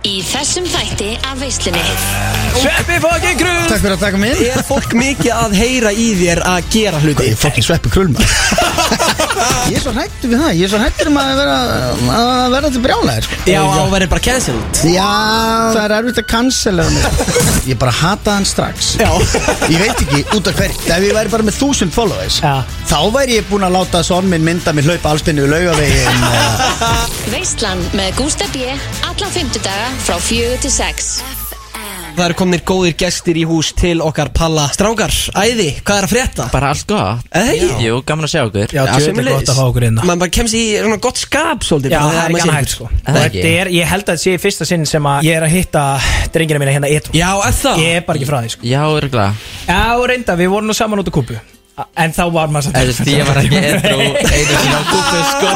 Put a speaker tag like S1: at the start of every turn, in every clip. S1: Í þessum þætti af veislunni
S2: Sveppi fokkin krull
S3: Takk fyrir að taka mig inn
S2: Er fólk mikið að heyra í þér að gera hluti?
S3: Ég fokkin sveppi krull maður Ég er svo hættur við það Ég er svo hættur um að vera, að vera til brjálæðir sko.
S2: Já, á verið bara cancelled
S3: Já Það er erfitt að cancela mig Ég bara hata hann strax
S2: Já.
S3: Ég veit ekki út af hverju Ef ég væri bara með þúsund followers
S2: Já.
S3: Þá væri ég búin að láta son minn mynda mér hlaupa allspinnu við laugavegin
S1: Veislan með Gústa B Alla fymtudaga frá fjögur til sex
S2: Það eru komnir góðir gestir í hús til okkar palla Strákar, æði, hvað er að frétta?
S4: Bara allt gott
S2: Eða ekki?
S4: Jú, gaman að sjá okkur
S5: Já, djöfull er gott að fá okkur hérna. inna
S2: Man bara kemst í svona gott skap svolítið
S5: Já,
S2: bara
S5: það
S2: þegar
S5: er
S2: maður
S5: ekki
S2: sér ykkur.
S5: hægt sko
S4: Er það
S5: Þetta
S4: ekki?
S5: er, ég held að þetta sé í fyrsta sinn sem að ég er að hitta drengina mína hérna eitt
S2: Já, eða það?
S5: Ég er bara ekki frá því sko
S4: Já, örgulega
S5: Já, reynda, við vorum nú saman út á kúpu En þá var maður
S4: Þú veist, ég var ekki edru einu sinni á kúpu, sko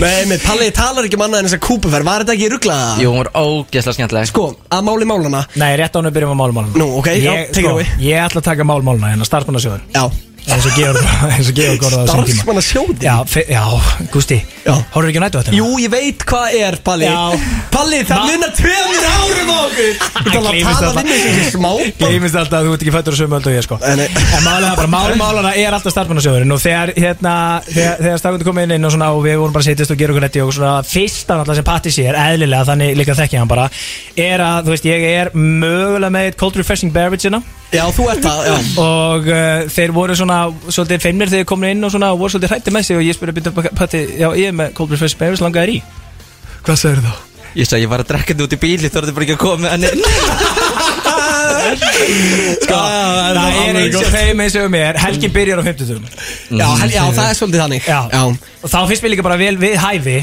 S2: Nei, með Palli talar ekki um annað en þess að kúpuferð Var þetta ekki rugglaða?
S4: Jú, hún var ógeðslega skemmtileg
S2: Sko, að máli málana
S5: Nei, rétt ánum byrjum að málmáluna
S2: Nú, ok, já,
S5: Ég-
S2: take it
S5: sko,
S2: away.
S5: Ég ætla að taka málmáluna hérna, starfmannasjóður
S2: Já
S5: eins og Georg eins og Georg orðaði á sínum tíma.
S2: Starfsmanna sjóði
S5: Já, fe- já, Gústi
S2: Já.
S5: Hóruðu ekki á nættuvættina?
S2: Jú, ég veit hvað er, Palli
S5: Já.
S2: Palli, það
S5: Ma-
S2: munar tveimur árum á okkur Þú tala að
S5: gleymist
S2: tala
S5: þetta.
S2: við mig sem smá
S5: Gleimist alltaf að þú ert ekki fættur á sömu öllu og ég sko
S2: Nei, nei.
S5: En málið er bara, mál, málana er alltaf starfmannasjóðurinn og þegar, hérna, þegar, þegar stakundu kom inn, inn og, svona, og við vorum bara að setjast og gera okkur netti og svona fyrsta náttúrulega sem Patti sér, eðlilega, þannig líka þekki ég hann bara er að, þú veist, ég er mögulega með eitt cold refreshing beverage hérna
S2: Já, þú ert það, já
S5: og uh, þeir voru svona svolítið feimnir þegar þeir komin inn og svona og voru svolítið hrætti með sig og ég spurði býttu Patti, já, ég er með cold refreshing beverage, langaði þér í Hvað sagði þá?
S4: Ég sagði, ég var að drekka þetta út í bíli Þú ertu bara ekki að koma með hann inn
S5: Sko, það, er eins og þeim eins og mér Helgin byrjar á 50
S2: Já, hel- já, það er svolítið þannig
S5: Mm-hmm. Já. Og þá finnst mér líka bara vel við hæfi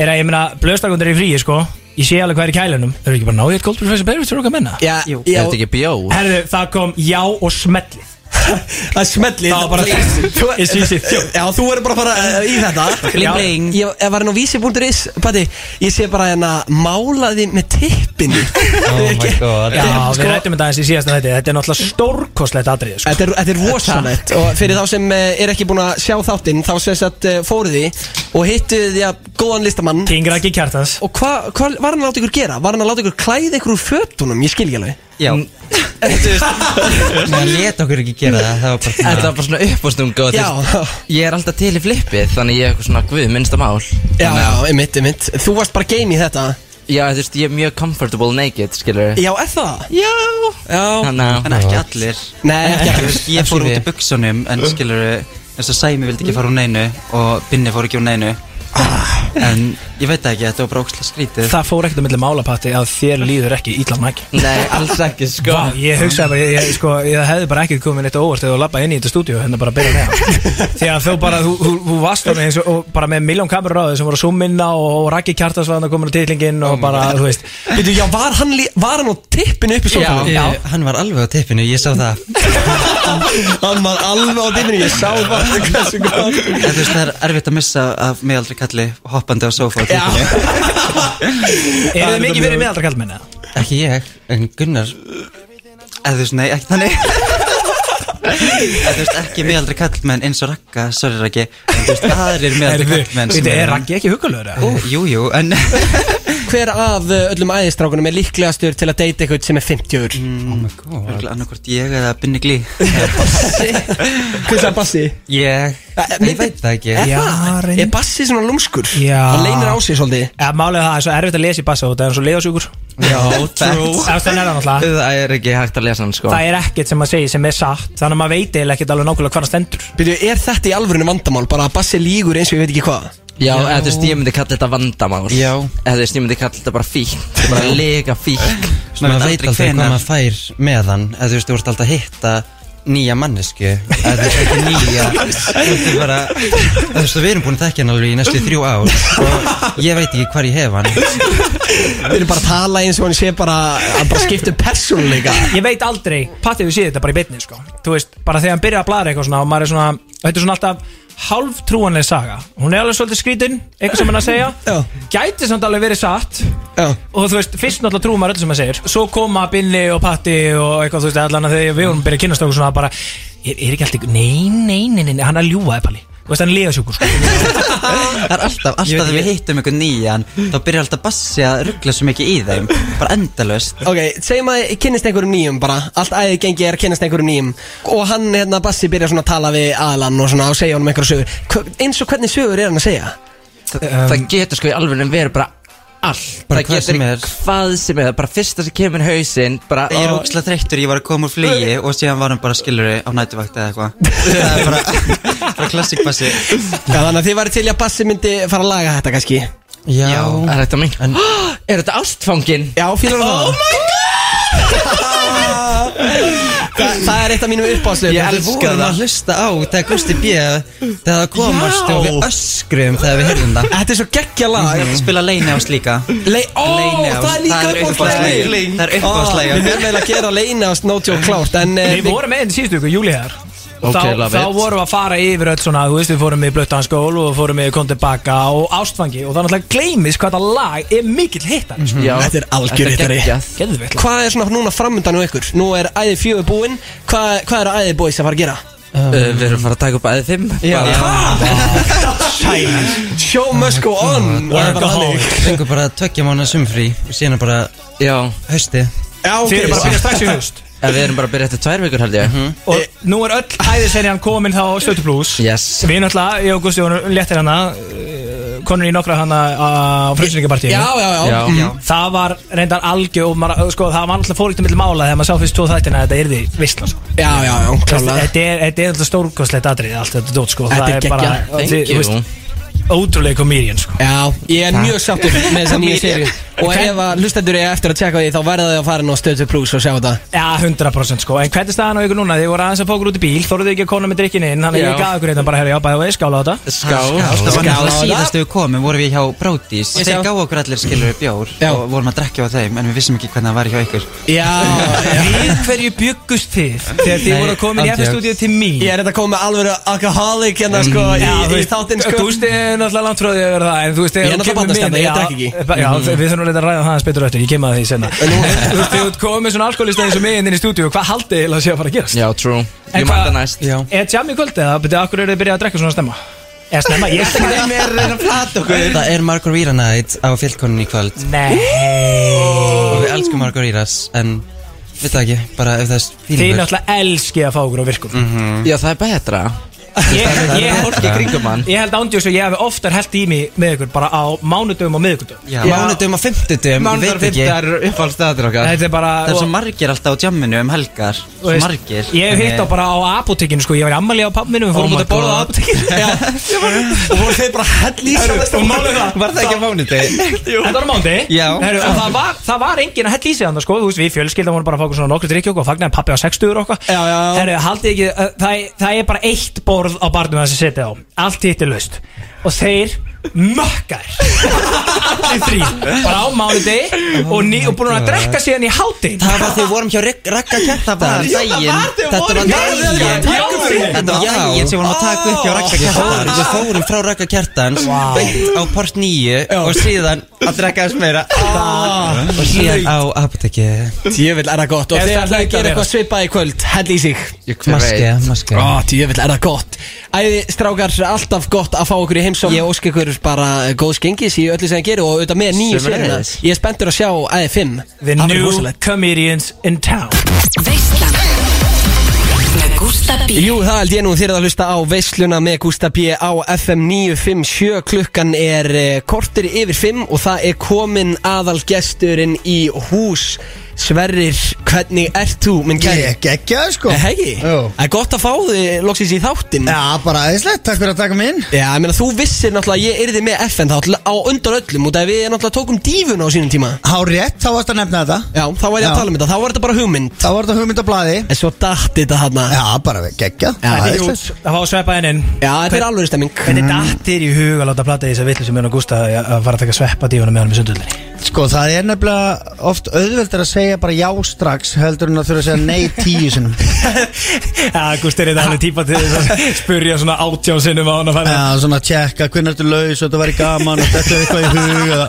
S5: Er að ég meina, blöðstakundir er í fríi sko Ég sé alveg hvað er í kælunum Þau eru ekki bara náðið eitt Cold Professor Beirut Þú eru okkar menna
S2: Já,
S4: Er
S2: já,
S4: þetta ekki bjó?
S5: Herðu, það kom já og smellið
S2: það er smellið
S5: Það var bara
S2: Þú-
S5: Ég sé sér þjó
S2: Já, þú verður bara að fara uh, í þetta
S4: Bling,
S5: Já.
S4: bling
S2: Ég, ég var enn á vísi.is Patti, ég sé bara hérna Málaði með tippinu
S4: Oh my god
S5: Já,
S2: Sko-
S5: við rættum þetta aðeins í síðasta þetta Þetta er náttúrulega stórkostlegt atrið sko.
S2: Þetta er, þetta er rosalegt og fyrir þá sem eh, er ekki búin að sjá þáttinn þá sem sagt eh, fóruð þið og hittuð því að góðan listamann
S5: King Raki Kjartans
S2: og hvað hva var hann að láta ykkur gera? Var hann að láta ykkur klæða ykkur úr fötunum? Ég skil ekki alveg
S4: Já
S6: Nei, hann let okkur ekki gera það Það var bara
S4: Þetta var bara svona uppástunga og þú veist,
S2: Já.
S4: Ég er alltaf til í flippið Þannig ég er eitthvað svona guð, minnsta mál
S2: Já, já,
S4: Þannig að-
S2: einmitt, einmitt Þú varst bara game í þetta
S4: Já, þú veist, ég er mjög comfortable naked, skilur
S2: Já, er það? Já Já
S4: Þannig
S6: En
S4: að
S6: ekki allir
S2: Nei, ekki
S6: Þú veist, Ég fór út í buksunum En skilur Þess að Sæmi vildi ekki fara úr neinu Og Binni fór ekki úr neinu En ég veit það ekki Þetta var bara ókslega skrítið
S5: Það fór ekkert að milli málapatti að þér líður ekki ítlan mæki
S4: Nei, alls ekki, sko
S5: Vá, ég hugsaði bara, ég, ég, sko, ég hefði bara ekki komið neitt á óvart eða að labba inn í þetta stúdíu hérna bara að byrja með því að þú bara, þú, þú, þú varst þarna eins og, og bara með miljón kamerur á þau sem voru að summinna og, og Raki Kjartas var hann að koma á titlingin og bara, þú veist
S2: Býtu, já, var hann, lí- var hann á tippinu upp í
S4: Já.
S2: sofanum?
S6: Ég- Hann var alveg á tippinu Ég sá það
S2: Hann var alveg á tippinu, ég sá það Hversu gott
S6: En Þú veist það er erfitt að missa Af meðaldri kalli Hoppandi á sofa á tippinu
S5: Er þið mikið verið meðaldra kallmenn eða?
S6: Ekki ég En Gunnar Eða þú veist nei Ekki þannig Eða þú veist ekki meðaldri kallmenn Eins og Rakka Sorry Rakki En þú veist aðrir meðaldri
S5: Heyrðu,
S6: kallmenn sem
S5: veitu, Er
S6: eru-
S5: Raki ekki hugulegur eða?
S6: Jú, jú, en
S2: Hver af uh, öllum æðistrákunum er líklegastur til að deyta eitthvað sem er 50 ur?
S6: Örugglega annarkvort ég eða Binni Glí
S2: Hversu að bassi?
S6: Ég Ég veit það
S4: Eh?
S6: ekki
S2: Er
S5: Já,
S2: það?
S5: reynd-
S2: Er bassi svona lúmskur?
S5: Já.
S2: Hann leynir á sig svolítið
S5: Eða málið er það er svo erfitt að lesa í bassa út eða svo leiðasjúkur
S4: Já, trú
S5: Eða þannig er það náttúrulega
S4: Það er ekki hægt að lesa hann sko
S5: Það er ekkert sem að segja sem er satt Þannig að maður veit eiginlega ekkert alveg nákvæmlega hvað það stendur
S2: Býtu, er þetta í alvörinu vandamál? Bara að bassi lígur eins og ég veit ekki hvað
S4: Já, eða þú veist, ég myndi kalla þetta vandamál
S6: Já.
S4: Eða þú veist, ég myndi kalla þetta bara fíkn Þetta er Bara lega fíkn
S6: maður
S4: Maður
S6: veit
S4: aldrei
S6: aldrei hvað
S4: hvenær.
S6: maður fær með hann eða þú veist, þú ert alltaf að hitta nýja mannesku eða þú veist ekki nýja þetta er bara eða þú veist, við erum búin að þekkja hann alveg í næstu þrjú ár og ég veit ekki hvar ég hef hann
S2: Við erum bara að tala eins og hann sé bara Hann bara skiptir persónuleika
S5: Ég veit aldrei, Patti við séð þetta bara í beinni sko. Þú veist, bara þegar hann byrjar að bladra eitthvað svona og maður er svona, þetta er svona alltaf hálf trúanlega saga, hún er alveg svolítið skrítin eitthvað sem hann er að segja,
S2: Já.
S5: gæti samt alveg verið satt
S2: Já.
S5: og þú veist, fyrst náttúrulega trúum maður öll sem hann segir svo koma Binni og Patti og eitthvað þú veist, allan að þegar við vorum byrjað að kynast okkur svona bara, er, er ekki alltaf, nei, nei, nei, nei, nei hann er að ljúga, Epali Þú veist, hann er líðasjúkur sko.
S4: Það er alltaf, alltaf þegar við hittum einhvern nýjan Þá byrjar alltaf Bassi að ruggla svo mikið í þeim Bara endalust
S2: Ok, segjum að ég kynnist einhverjum nýjum bara Allt æðið gengi er að kynnist einhverjum nýjum Og hann, hérna, Bassi byrjar svona að tala við aðlan og svona og segja honum einhverju sögur Hva- Eins og hvernig sögur er hann að segja?
S4: Það getur sko í alveg verið bara allt
S6: Bara
S4: Það
S6: hvað
S4: getur
S6: sem er.
S4: hvað sem er Bara fyrsta sem kemur í hausinn Bara
S6: Ég er ógislega þreyttur, ég var að koma úr flugi og síðan var hann bara skilur á nætuvakt eða eitthvað Það er bara, bara klassik bassi
S2: Já, þannig að þið væri til í að Bassi myndi fara að laga þetta kannski
S6: Já,
S4: Það er þetta mink Er þetta ástfangin?
S2: Já, fílar það Oh my god Þa, Það er eitt af mínum uppáðslu
S6: Ég elska það að hlusta á þegar Gusti B þegar það komast og við öskrum þegar við heyrðum það
S2: Þetta er svo geggja lag
S6: Ég spila Leine ás líka
S2: Le Ó,
S6: Leyniás,
S2: það er líka
S6: það er
S2: uppáðslega
S6: uppáhaldslagið. Það er
S2: Við
S6: uppáhaldslagið.
S2: verðum eiginlega að gera leina á snótjók klárt En eh,
S5: Við vorum með þetta síðustu ykkur, júliðar
S4: Ok,
S5: þá,
S4: love
S5: þá
S4: it.
S5: vorum við að fara yfir öll svona, þú veist, við fórum í blöttahanskól og fórum í kontibakka og ástfangi og það náttúrulega gleymis hvað það lag er mikill hittar mm
S4: Já
S2: Þetta er algjör
S4: Þetta er
S2: hittari.
S4: geggjað.
S5: Mhm. Geðveikt
S2: Hvað er svona núna framöndan á ykkur? Nú er æði fjögur búinn Hvað, hvað er æði boys að fara að gera?
S4: Uh, Við erum að fara að taka upp aðeins fimm Bara-
S2: Show must go on Það er bara þannig.
S6: Fengur bara tveggja mánuða sumfrí og síðan er bara
S4: Já
S6: hausti
S2: Já, ok
S5: Þið eru bara að byrja strax í haust
S4: En Við erum bara að byrja eftir tvær vikur held ég
S5: Og nú er öll æðiserjan komin þá á Stötu Plus
S4: Yes
S5: Við náttúrulega, ég og Gusti vorum léttir hana eh, konur í nokkra hana á frumsynningapartíu
S2: Já, já, já,
S4: Já.
S2: Mm.
S5: Það var reyndar algjör og maður, sko, það var alltaf fórvíktum milli mála þegar maður sá fyrst tvo þættina að þetta yrði vissla sko.
S2: já, já, já
S5: Þetta
S2: klálega.
S5: þetta er þetta er alltaf stórkostlegt atrið allt þetta dót sko
S2: Þetta
S5: Það
S2: er
S5: er bara
S2: geggjað.
S5: þið-
S4: Thank
S5: þú
S4: you.
S5: veist, Ótrúlega komedian sko
S2: Já, ég er mjög sáttur með þess að nýja séri Og ef að hlustendur ég eftir að tjekka því Þá verða þau að fara inn á stöðu plus og sjá þetta
S5: Já, 100% sko En hvernig staðan á ykkur núna? Þið voru aðeins að fókur út í bíl Þóruðu ekki að kona með drikkinni inn Þannig að ég
S4: Já.
S5: gaf ykkur eitthvað bara Herra, já, bæði og ég skála á þetta
S4: Skál
S6: Það var
S2: Skál.
S6: náttúrulega síðast þegar við komum, vorum við hjá Brótis
S2: Ég
S6: Þeir
S2: sjá.
S6: gáðu okkur allir skilur bjór
S2: Já.
S6: og vorum að drekja á þeim en við vissum ekki hvernig það var hjá ykkur
S2: Já,
S5: Við hverju bjöggust þið Þegar þið
S6: Nei,
S5: voru að koma í
S6: andjóks.
S5: FN-stúdíu til mín
S2: ég er þetta komið með alvöru alkoholik Hérna sko, í, í þáttinn sko
S5: Mm. Þú veist, ég er náttúrulega langt frá því að vera það En þú veist,
S2: Ég er náttúrulega barnaskapna, ég drekk ekki. Mm-hmm.
S5: ekki Já, við þurfum að leita að ræða það hans betur eftir Ég kem að því senna Þú veist, þið komið svona alkoholistæði sem ég inn í stúdíu Hvað haldið þið að sé að fara að gerast?
S4: Já, true
S5: En
S4: Ég
S5: hvað-
S4: mæta næst
S5: Er jam í kvöld eða? Betið, akkur eru þið byrjað að drekka svona stemma? Eða snemma, ég veit ekki
S6: er að plata okkur Það er Margarita Night á fjallkoninni í kvöld
S5: Nei
S6: og við elskum Margaritas en við það ekki, bara ef það er
S5: Þið
S6: fílingur
S5: náttúrulega elski að fá okkur á virkum
S6: Mhm.
S4: Já, það er betra
S5: Ég,
S4: Það
S5: ég,
S4: er fólk í kringum hann
S5: ég held ándjóðs og ég hef oftar held í mig með ykkur bara á mánudöfum og miðugundöfum
S6: Mánudum og fimmtudum, ég veit ekki
S4: er uppáhaldstæðir
S5: Þetta er bara
S6: Það er
S5: og-
S6: svo margir alltaf á jamminu um helgar
S5: þú
S6: Svo
S5: veist,
S6: margir
S5: Ég hef hitt á bara á apotekinu sko Ég var í ammali á pappminu Við fórum út
S6: Oh my
S5: að borða á
S6: God.
S5: apotekinu
S2: Og voru þau bara hell í
S5: Og málið það
S6: Var það ekki á mánudegi?
S5: Þetta var á mándi
S6: Já.
S5: Heru, Og það var, það var engin að hella í sig þannig sko Þú veist við fjölskyldan vorum bara að fá okkur svona nokkur drikki okkur Og fagnaði pappi á 60 okkur
S2: Já, já, já.
S5: Heru, haldið ekki uh, það, er- það er bara eitt borð á barnum Það sem setja á Allt hitt er laust Og þeir mökkar Allir þrý Bara á mándi Og, ný- og búin að drekka síðan í hátinn
S6: Það var þegar við vorum hjá Rek- Ragga Kjartan Dægin Þetta var dægin Þetta var dægin sem vorum að taka upp hjá Ragga Kjartan Við fórum frá Ragga Kjartan
S5: Vá.
S6: Beint á port 9 Og síðan að drekka þess meira
S2: Ah,
S6: Og síðan á apoteki
S2: Tjövill er það gott Og
S5: Er
S2: þegar það
S5: það hlýtur að
S2: gerir
S5: vera.
S2: eitthvað svipað í kvöld Hell í sig
S6: Maske, maske
S2: Ó, Tjövill er það gott Æði strákar, alltaf gott að fá okkur í heimsókn Ég ósk ykkur bara góð skengis í öllu sem það gerir Og auðvitað með nýju sérina
S4: Sömuleiðis.
S2: Ég er spenntur að sjá æði 5
S5: The new comedians in town
S7: Veislan Með Gústa B
S2: Jú, það held ég nú þér að hlusta á veisluna með Gústa B á FM 957 klukkan er eh, kortir yfir 5 og það er komin aðal gesturinn í hús Sverrir, hvernig ert þú, minn
S3: Ég
S2: kæri?
S3: er geggjaður sko
S2: Eh, Hegi?
S3: Jú.
S2: Það er gott að fá þig loksins í þáttinn
S3: Já, bara aðeinslegt, takk fyrir að taka mig inn
S2: Já, ég meina þú vissir náttúrulega að ég yrði með FN þátt á undan öllum út af við náttúrulega tókum dífun á sínum tíma
S3: Há rétt, þá varst að nefna þetta
S2: Já, þá var ég
S3: Já.
S2: að tala um þetta, þá var þetta bara hugmynd
S3: Þá var þetta hugmynd á blaði
S2: En svo datt þetta hana
S3: Já, bara geggja
S2: Já,
S5: Það er
S3: aðeinslegt
S5: út að fá að sveppa henn inn
S2: Já, þetta er alveg stemming
S5: Hvernig dattir í hug að láta plata í þess að villu sem Jón og Gústa að að fara að taka sveppa dífuna með honum í sundhöllinni
S3: Sko, það er nefnilega oft auðveldur að segja bara já strax heldur en að þurfa að segja nei tíu sinnum
S5: Já, Gústa er þetta alveg típa til þess að spurja svona átján sinnum á hann að fara
S3: Já, svona tjekka, hvernig ertu laus og þetta væri gaman og þetta er eitthvað í hug eða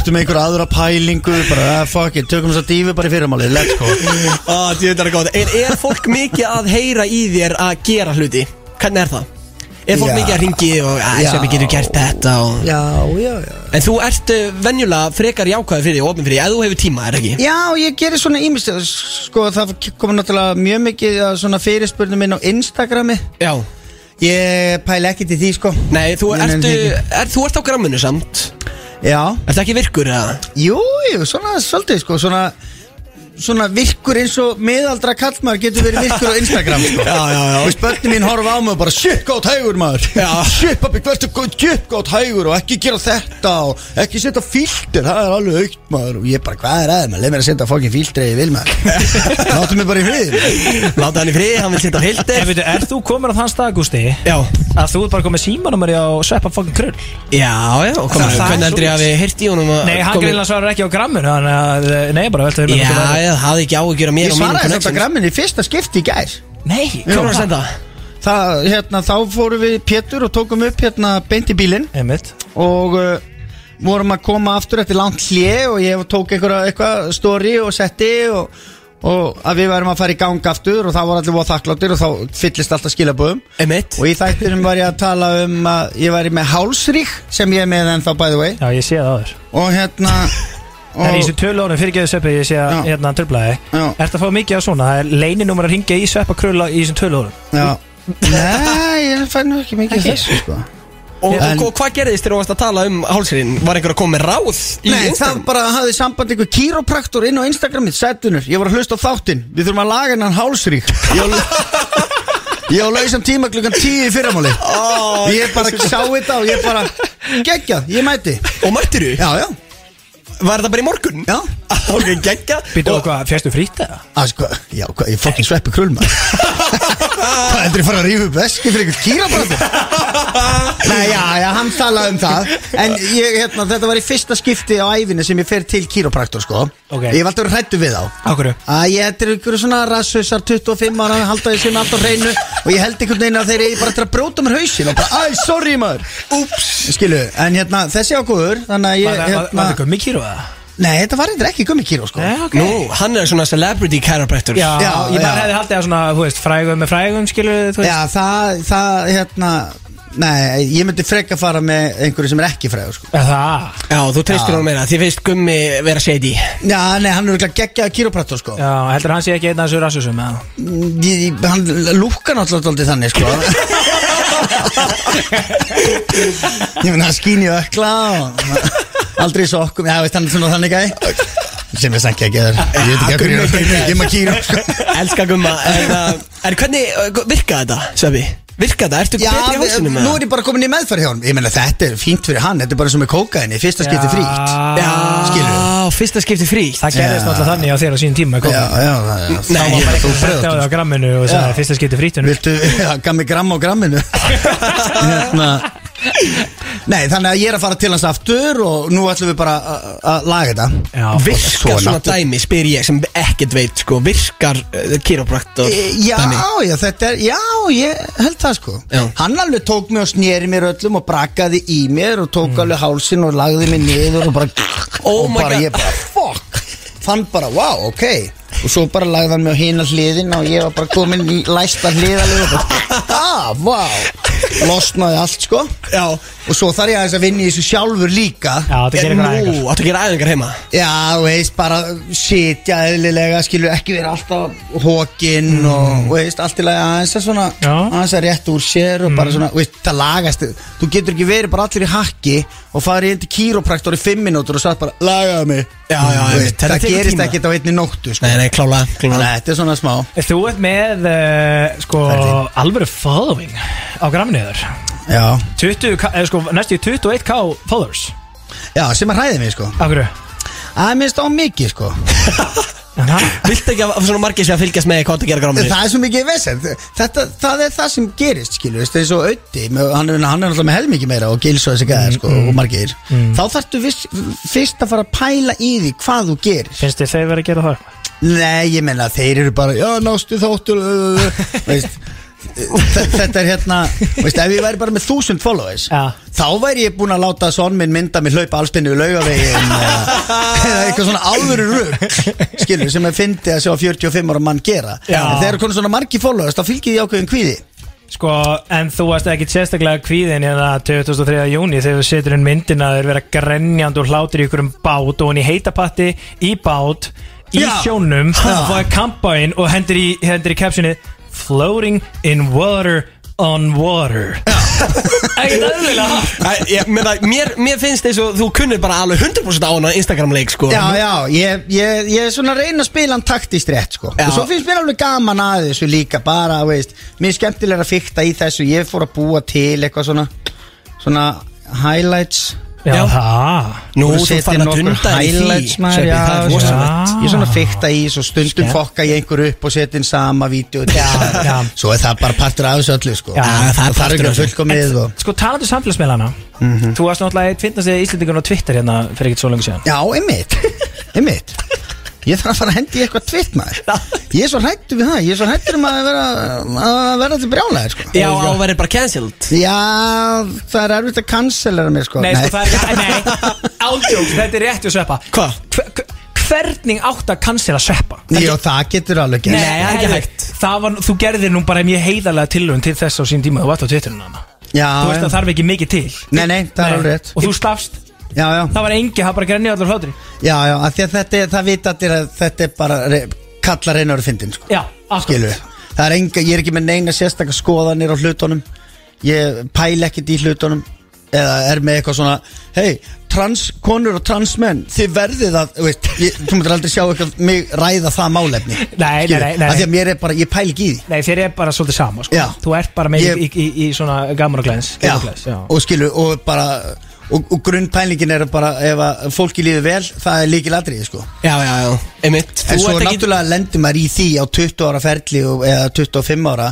S3: ertu með einhver aðra pælingu bara, ah, fuck it, tökum þess að dífi bara í fyrirmáli let's go
S2: Ah, djöfull er það gott. er, er fólk mikið að heyra í þér að gera hluti? Hvernig er það? Er fólk
S3: Já.
S2: mikið að ringi og að
S3: Já.
S2: sem við getur gert þetta og...
S3: Já, já, já
S2: En þú ert uh, venjulega frekar jákvæði fyrir því, opin fyrir því, ef þú hefur tíma, er ekki?
S3: Já, ég gerir svona ímist Sko, það kom náttúrulega mjög mikið af Svona fyrirspurnum minn á Instagrami
S2: Já
S3: Ég pæla ekki til því, sko
S2: Nei, þú
S3: Ég
S2: ert,
S3: nenni því ekki.
S2: er, þú ert á gramminu samt
S3: Já,
S2: Ertu ekki virkur eða?
S3: jú, jú, svona svolítið, sko Svona, svona virkur eins og miðaldra kallmaður getur verið virkur á Instagram, sko
S2: Já, já, já.
S3: Og spönni mín horfa á mig og bara Shit, gótt hægur, maður
S2: Já.
S3: Shit, pappi, hvertu, shit, gótt hægur Og ekki gera þetta og ekki setja filter Það er alveg aukt, maður Og ég bara, hvað er aðeins, maður, leið mér að setja fólkin filter eða ég vil, maður Láttu mig bara í frið
S2: Láta hann í frið, hann vil sitja á
S5: En
S2: hildir
S5: veitu, er þú komin á þann stað, Gústi
S2: Já,
S5: að þú er bara komið símanumari á Sveppa fucking Krull
S2: já, já, og kom,
S5: Það- það er
S2: hvernig heldur ég að við heyrti í honum að
S5: Nei, hann
S2: komi-
S5: greinlega svarar ekki á gramminu þannig að, eh, nei, bara velta
S2: Já, ég hafði ekki áhugjur á mér
S3: Ég
S2: og mínum
S3: svaraði þetta
S2: connections.
S3: grammin í fyrsta skipti í gær
S5: Nei,
S2: Hvað var að senda?
S3: Það, hérna, þá fórum við Pétur og tókum upp hérna beint í bílinn
S5: Einmitt
S3: og uh, vorum að koma aftur eftir langt hlje og ég tók einhverja eitthvað story og setti og, og að við værum að fara í gang aftur og þá voru allir voða þakkláttir og þá fyllist alltaf skilaböðum
S2: Emitt
S3: og í þættinum var ég að tala um að ég væri með hálsrík sem ég er með ennþá by the way
S5: Já, ég sé það áður
S3: og hérna
S5: Það er í
S3: og,
S5: þessu tölunum fyrirgeðu Sveppi, ég sé að
S3: Já.
S5: hérna hann tröflaði
S3: Já.
S5: Ertu að fá mikið af svona? Það er leininúmer að ringja í Sveppa Krull í þessum tölunum
S3: já, Nei, ég fann nú ekki mikið í þessu sko
S2: Og,
S3: En-
S2: og hvað gerðist þegar þú varst að tala um hálsirinn? Var einhver að koma með ráð í
S3: Nei, það
S2: Instagram?
S3: bara hafði samband einhver kýrópraktor inn á Instagramið, sættunur Ég var að hlusta á þáttinn, við þurfum að laga hennan hálsrík Ég á Ég á lausam tíma klukkan 10 í fyrramáli Ég bara sá þetta og ég bara Gekkja, ég mæti
S2: Og mættir þú?
S3: Já, já,
S2: Var það bara í morgun?
S3: já
S2: Ok, geggja
S5: Býtu
S2: Og-
S5: og hvað, fjastu frýtt eða?
S3: Að sko, já, hva, ég fokkin sveppi krull maður Hvað heldur ég fara að rífa upp veski fyrir einhvern kýrabræður? Nei, já, já, hann talaði um það En ég, hérna, þetta var í fyrsta skipti á ævinni sem ég fer til kýrabræktur, sko
S5: Ok.
S3: Ég var alltaf hrættu við þá
S5: Akkurru
S3: að ég þetta er einhverju svona rassusar 25 ára halda því sem alltaf hreinu og ég held einhvern veginn að þeir eru bara til að bróta mér hausin og bara, æ, sorry maður Úps, skilu, en hérna, þessi ákvöður þannig að ég,
S5: Var var-
S3: hérna
S5: var það gummi kýru eða?
S3: nei, þetta var eitthvað ekki gummi kýró, sko
S5: Nei, ok
S2: Nú, hann er svona celebrity chiropractor
S5: Já,
S3: Já,
S5: ég bara
S3: já.
S5: hefði haldið að svona, þú veist, frægum með frægum, skilur þú veist
S3: já, það, það, hérna nei, ég myndi freka fara með einhverju sem er ekki fræður, sko
S5: Já, það
S2: Já, þú treystir hann meira, því finnst gummi vera shady
S3: já, nei, hann er eitthvað geggjað kýróprættur, sko
S5: Já, heldur hann sé ekki einn af þessu rassusum eða?
S3: Mm, ég, ég- hann lúkka náttúrulega dálítið þannig sko ég meina hann skín í ökla og aldrei í sokkum já veist hann er svona þannig gæði sem er sannkja ekki þar ég veit ekki að hverju ég er að kýra ég er maður kýra sko
S2: Elskar gumma En, uh, en hvernig uh, virka þetta, Sveppi? Virka þetta? Ertu
S3: Já,
S2: betri í
S3: við-
S2: hálsinum?
S3: nú er ég bara komin í meðferð hjá hann Ég meina þetta er fínt fyrir hann Þetta er bara sem með kókaini, fyrsta skipti
S5: Já.
S3: frítt
S2: Já,
S3: skilurðu.
S2: fyrsta skipti fríkt
S5: Það gerðist náttúrulega þannig á þér á sínum tíma
S3: Já, já, það er
S2: Nei,
S3: Þá var bara
S5: Þú
S3: eitthvað
S5: setti á
S3: fröð
S5: það á gramminu og
S3: Já.
S5: sagði fyrsta skipti frýttunum
S3: Viltu, já, gaf mig gramm á gramminu Hérna Nei, þannig að ég er að fara til hans aftur og nú ætlum við bara að- að laga þetta
S5: Já,
S2: Virkar
S3: Svona.
S2: svona dæmi, spyr ég sem ekkert veit sko, virkar uh, chiropractor
S3: E, Já, já, þetta er, já, ég held það sko
S2: Já.
S3: Hann alveg tók mig og sneri mér öllum og brakaði í mér og tók alveg hálsin og lagði mig niður og bara
S2: Mm. Oh
S3: Og
S2: my
S3: bara,
S2: God.
S3: ég bara, fuck Fann bara, wow, ok Og svo bara lagði hann mig á hina hliðin og ég var bara komin í læsta hliðalegu og bara, ah, wow Losnaði allt sko
S2: Já,
S3: Og svo þarf ég aðeins að vinna í þessu sjálfur líka
S5: Já, þetta gerir
S2: nú,
S5: eitthvað aðeins
S2: áttu að gera æfingar heima
S3: Já, þú veist, bara sitja eðlilega, skilur ekki vera alltaf hókin
S2: Mm.
S3: og, þú veist, allt í lagi aðeins að svona,
S5: Já.
S3: aðeins að rétt úr sér og
S2: Mm.
S3: bara svona, þú veist, það lagast þú getur ekki verið bara allir í hakki og farið inn til kýrópraktor í fimm mínútur og satt bara, lagaðu mig
S2: Já, já,
S3: Þú
S2: einmitt,
S3: veist,
S2: þetta
S3: það
S2: tekur
S3: gerist
S2: tíma.
S3: ekkert á einni nóttu, sko
S2: Nei, nei, klála,
S3: Þannig
S2: klála.
S3: að þetta er svona smá
S5: Þú ert með uh, sko,
S3: Ferli.
S5: alvöru following á gramniður
S3: Já,
S5: 20, ka- eh, sko, næstu í 21k followers
S3: já sem að hræði mig, sko
S5: Af hverju?
S3: Það er minnst á mikið, sko
S5: Aha.
S2: Viltu ekki að að svona margir sé að fylgjast með hvað það gera gráminu?
S3: Það er svo mikið vesend Þetta, það er það sem gerist, skilju veist, eins og Ötti, með- hann er, hann er alltaf með helmikið meira og gils og þessi gæðar, sko, og margir þá þarftu viss, fyrst að fara að pæla í því hvað þú gerir
S5: Finnst þið þeir verið að gera það?
S3: Nei, ég menna, þeir eru bara já, nástu þóttur uh, uh, uh," veist, þe- þetta er hérna veist, ef ég væri bara með þúsund followers
S5: Já.
S3: þá væri ég búin að láta son minn mynda mig hlaupa allspinnu við laugavegin eða eða eitthvað svona alvöru rugg skilur, sem ég fyndi að sjá 45 ára mann gera
S5: Já.
S3: en þegar er konur svona margi followers þá fylgir því ákveðin kvíði
S5: Sko, en þú varst ekki sérstaklega kvíðin hérna 2003. júni þegar þú setur inn myndina að þeir vera grenjandi og hlátur í ykkur um bát og hann í heitapatti, í bát, í
S3: Já.
S5: sjónum og að kampa inn og hendur í, hendur í captionið Floating in water on water Ekkert öðrulega hátt.
S2: Æ, ég, meina, mér, mér finnst eins og þú kunnir bara alveg 100% á hana Instagram leik sko
S3: Já, já, ég, ég, ég er svona að reyna að spila hann taktist rétt sko.
S2: Já.
S3: og svo finnst mér alveg gaman að þessu líka bara, veist, mér er skemmtilega að fykta í þessu ég fór að búa til eitthvað svona svona highlights
S5: Já,
S2: Já.
S5: það
S2: Nú,
S3: Fór
S2: þú
S3: setja
S2: fann að
S3: nokkur
S2: dunda í
S3: highlights,
S2: því
S3: maður,
S2: Sveppi,
S3: já,
S2: það er
S3: svona-
S2: rosalegt
S5: rosalegt.
S3: Ég er svona að fykta í þessu stundum
S5: Skemmt.
S3: fokka ég einhver upp og setja inn sama vídeo
S5: Já, já.
S3: Svo er það bara partur af þessu öllu sko.
S5: Já,
S2: það er
S3: Það þarf
S2: partur
S3: ekki
S2: af
S3: að
S2: þessu.
S3: fullkomið og...
S5: Sko, talandu samfélagsmiðlana Þú varst náttúrulega eitt finnast eða Íslendingun á Twitter hérna fyrir ekkert svo lengur síðan
S3: Já, einmitt, einmitt Ég þarf að fara að hendi í eitthvað tvitt maður Ég er svo hættu við það, ég er svo hættur um að vera, að vera til brjálæðir sko.
S2: Já, áverið bara cancelled
S3: Já, það er erfitt að cancellera mér sko
S5: Nei, sko, það er Nei, ándjóks, þetta er rétt hjá Sveppa
S2: Hva?
S5: Hver- hver- Hvernig átt að cancela Sveppa?
S3: Jó, það getur alveg
S5: Nei,
S3: gerst
S5: það er ekki hægt Það var, þú gerðir nú bara mjög heiðarlega tilhörn til þess á sín tíma Þú varst á Twitterinu hana
S3: Já,
S5: Þú veist
S3: já.
S5: að það þarf ekki mikið til
S3: Nei, nei, það er alveg rétt
S5: Og þú stafst,
S3: Já, já,
S5: það var engi, það bara grenni allar hlátri
S3: já, já, af því að þetta er, það vita allir að þetta er bara re, kalla reynar að fyndin sko
S5: Já, akkurat
S3: Skilu, það er enga, ég er ekki með neina sérstakar skoðanir á hlutunum Ég pæl ekkit í hlutunum Eða er með eitthvað svona Hei, trans konur og trans menn Þið verðið að, þú veist ég, Þú myndir aldrei sjá eitthvað mig ræða það málefni
S5: Nei, nei,
S3: Skilu,
S5: nei, nei.
S3: af Því að mér er bara, ég pæl ekki í því
S5: Nei, þér er bara svolítið sama, sko
S3: Já.
S5: Þú ert bara með
S3: Ég-
S5: í, í, í svona gamur og glens
S3: Já,
S5: gamur og glens, já.
S3: og skilu, og bara Og, og grunnpælingin er bara ef að fólki líður vel, það er líkil atriði sko.
S2: Já, já, já, einmitt
S3: en
S2: Þú
S3: svo
S2: ert ekki-
S3: náttúrulega lendur maður í því á 20 ára ferli og, eða 25 ára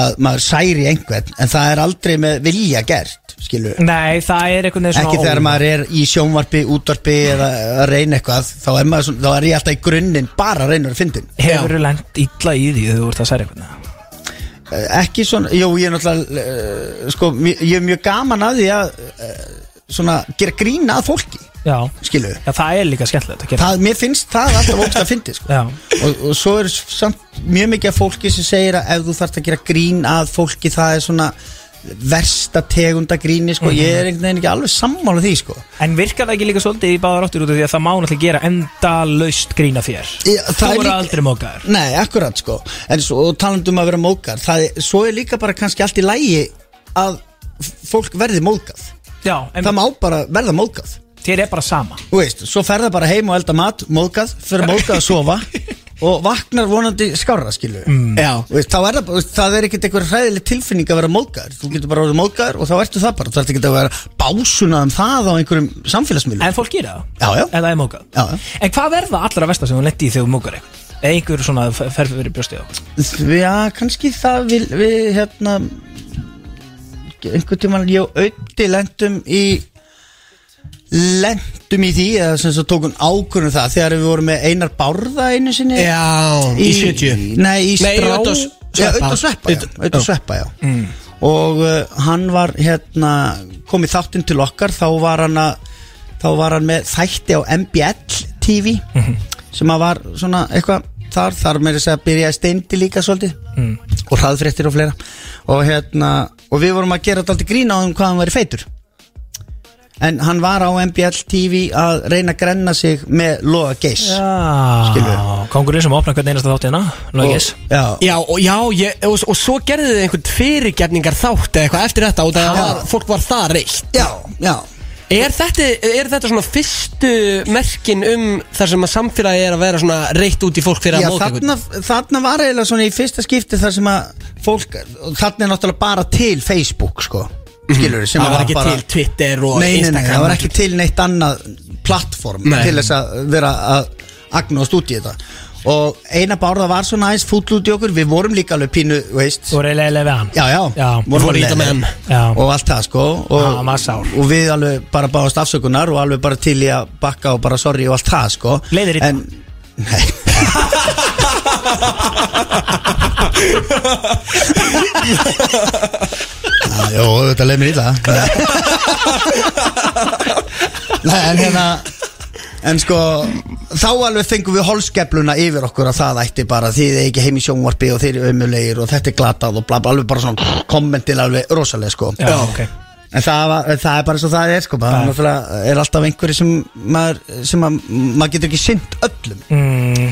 S3: að maður særi einhvern en það er aldrei með vilja gert skilu,
S5: Nei, það er einhvern veginn svona
S3: ekki þegar
S5: ólík.
S3: maður er í sjónvarpi, útvarpi eða að reyna eitthvað, þá er, maður, svona, þá er ég alltaf í grunninn bara að reyna að fyndin
S5: Hefur þú lent illa í því þegar þú ert að særa einhvern veginn?
S3: Eh, ekki svona, jú ég er náttúrulega eh, sko, mj- ég er mjög gaman að því að eh, svona, gera grína að fólki,
S5: Já,
S3: skilu
S5: já það er líka skemmtilegt að gera
S3: það, mér finnst það alltaf ógst að fyndi sko.
S5: Já.
S3: og, og svo er samt mjög mikið af fólki sem segir að ef þú þarft að gera grín að fólki það er svona versta tegunda gríni sko. ég er einhvern veginn ekki alveg sammála því sko.
S5: En virkar það ekki líka svolítið í báðar áttur út af því að það má náttúrulega gera endalaust grína þér
S3: Já, það
S5: Þú
S3: er
S5: eru
S3: líka-
S5: aldrei mókaður
S3: Nei, akkurat sko En svo og talandi um að vera mókar það er, Svo er líka bara kannski allt í lægi Að f- fólk verði mókað
S5: Já, en
S3: Það má bara verða mókað
S5: þér er bara sama
S3: Þú veist, svo ferða bara heim og elda mat Mókað, fyrir mókað að sofa Og vaknar vonandi skárra skilu mm.
S2: Já.
S3: Þú veist, þá er það, bara- þú veist, það er ekkert einhver hræðileg tilfinning að vera mókaður Þú getur bara að vera mókaður og þá ertu það bara Þú ert ekki að vera básuna um það á einhverjum samfélagsmiðlum
S5: En fólk gera það
S3: Já, já.
S5: En það er mókað
S3: Já, já.
S5: En hvað verða allra versta sem þú lendi í þegar þú mókar eitthvað? Eða einhver svona ferfið verið brjóstið á
S3: Já, kannski það vil, við hérna einhvern tímann ég og auði lendum í lendum í því eða sem svo tókum ákvörðum það þegar við vorum með Einar Bárða einu sinni
S2: Já, í 70
S3: Nei, í
S2: Nei,
S3: strá
S2: Ödda S- Sveppa. Mm.
S3: Ötta sveppa, já,
S2: Ödda-
S3: Ödda sveppa, já. Og uh, hann var hérna komið þáttinn til okkar þá var hann að þá var hann með þætti á MBL TV
S2: Mhm.
S3: sem að var svona eitthvað þar, þar með þess að byrja steindi líka svolítið
S2: Mm.
S3: og hraðfréttir og fleira og hérna, og við vorum að gera þetta aldrei grína á um hvað hann væri feitur en hann var á MBL TV að reyna að grenna sig með loga geis
S5: Já,
S3: Skilurðu.
S5: kongurinn Ah, sem opnar hvern einasta hérna, þáttina Logis
S3: Já,
S2: Já, og, já ég, og, og svo gerðu þið einhvern fyrirgefningar þátt eða eitthvað eftir þetta og það var, fólk var það reitt
S3: já, já
S2: er þetta, er þetta svona fyrstu merkin um þar sem að samfélagi er að vera svona reitt út í fólk fyrir
S3: Já,
S2: að móka
S3: þarna, þarna var eiginlega svona í fyrsta skipti þar sem að fólk, þarna er náttúrulega bara til Facebook, sko, skilur sem
S2: Mhm. Það
S3: að
S2: var ekki
S3: bara,
S2: til Twitter og
S3: nei, nei, nei,
S2: Instagram
S3: það var ekki til neitt annað plattform
S2: Nei.
S3: til þess að vera að agnóðast út í þetta og eina bárða var svona aðeins fúll út í okkur, við vorum líka alveg pínu, veist,
S5: Þú eru eiginlega leið við hann
S3: já, já,
S5: Já.
S2: Við fórum
S3: alveg
S2: í þetta með
S3: leiðir.
S2: hann.
S5: Já.
S3: og allt það, sko og,
S5: Já, maður sár.
S3: og við alveg bara báðast afsökunar og alveg bara til í að bakka og bara sorry og allt það, sko
S5: Leiðir illa.
S3: En- Nei Já, Jó, þetta leið mér illa Nei, en hérna En sko, þá alveg fengum við holskefluna yfir okkur að það ætti bara Þið er ekki heim í sjónvarpi og þeir eru ömulegir og þetta er glatað og bla bla Alveg bara svona kommentin alveg rosalega sko
S5: Já, ok.
S3: En það, var, það er bara eins og það er sko
S5: Já.
S3: Það er alltaf einhverju sem maður, sem að, maður getur ekki sinnt öllum
S5: mm,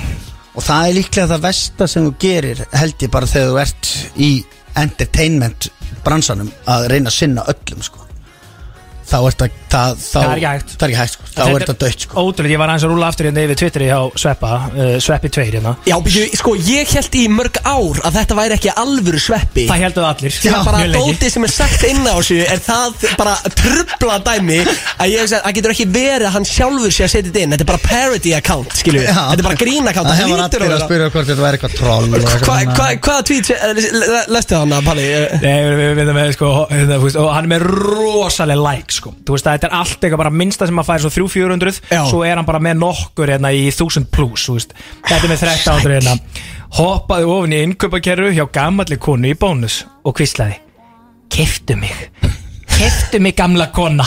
S3: Og það er líklega það versta sem þú gerir held ég bara þegar þú ert í entertainment bransanum að reyna að sinna öllum sko. Þá ert að það, þá,
S5: Það er ekki hægt.
S3: Það er ekki hægt sko. Þá
S5: Þetta
S3: ert að dött sko.
S5: Ótrúlega, ég var aðeins að rúla aftur hérna yfir Twitteri hjá Sveppa uh, Sveppi 2 hérna
S2: Já, ég, sko, ég held í mörg ár að þetta væri ekki alvöru sveppi
S5: Það heldur allir
S2: Það er bara
S5: mjög lengi.
S2: dótið sem er sagt inn á þessu Er það bara trubla dæmi Að ég segi að það getur ekki verið að hann sjálfur sé að setja þetta inn Þetta er bara parody account, skilju
S3: Já.
S2: Þetta er bara grín account
S3: Það hefur allir að spyrja hvort þetta væri eitthvað troll og eitthvað
S2: Hvaða
S3: svona.
S2: hva, hva tweet, eh, le- le- lestu hann að Palli? eh?
S5: Nei, við við- við erum með, sko, hérna, þú veist, og hann er með rosalega like, sko. Þú veist, að þetta er allt eitthvað bara minnsta sem maður fær svo 300-400,
S2: Já.
S5: svo er hann bara með nokkur hérna í 1000 plus, þú veist. Þetta er með 1300 hérna. Hoppaði ofin í innkaupakerru hjá gamalli konu í bónus og kvislaði. Keftu mig. Keftu mig gamla kona. Ha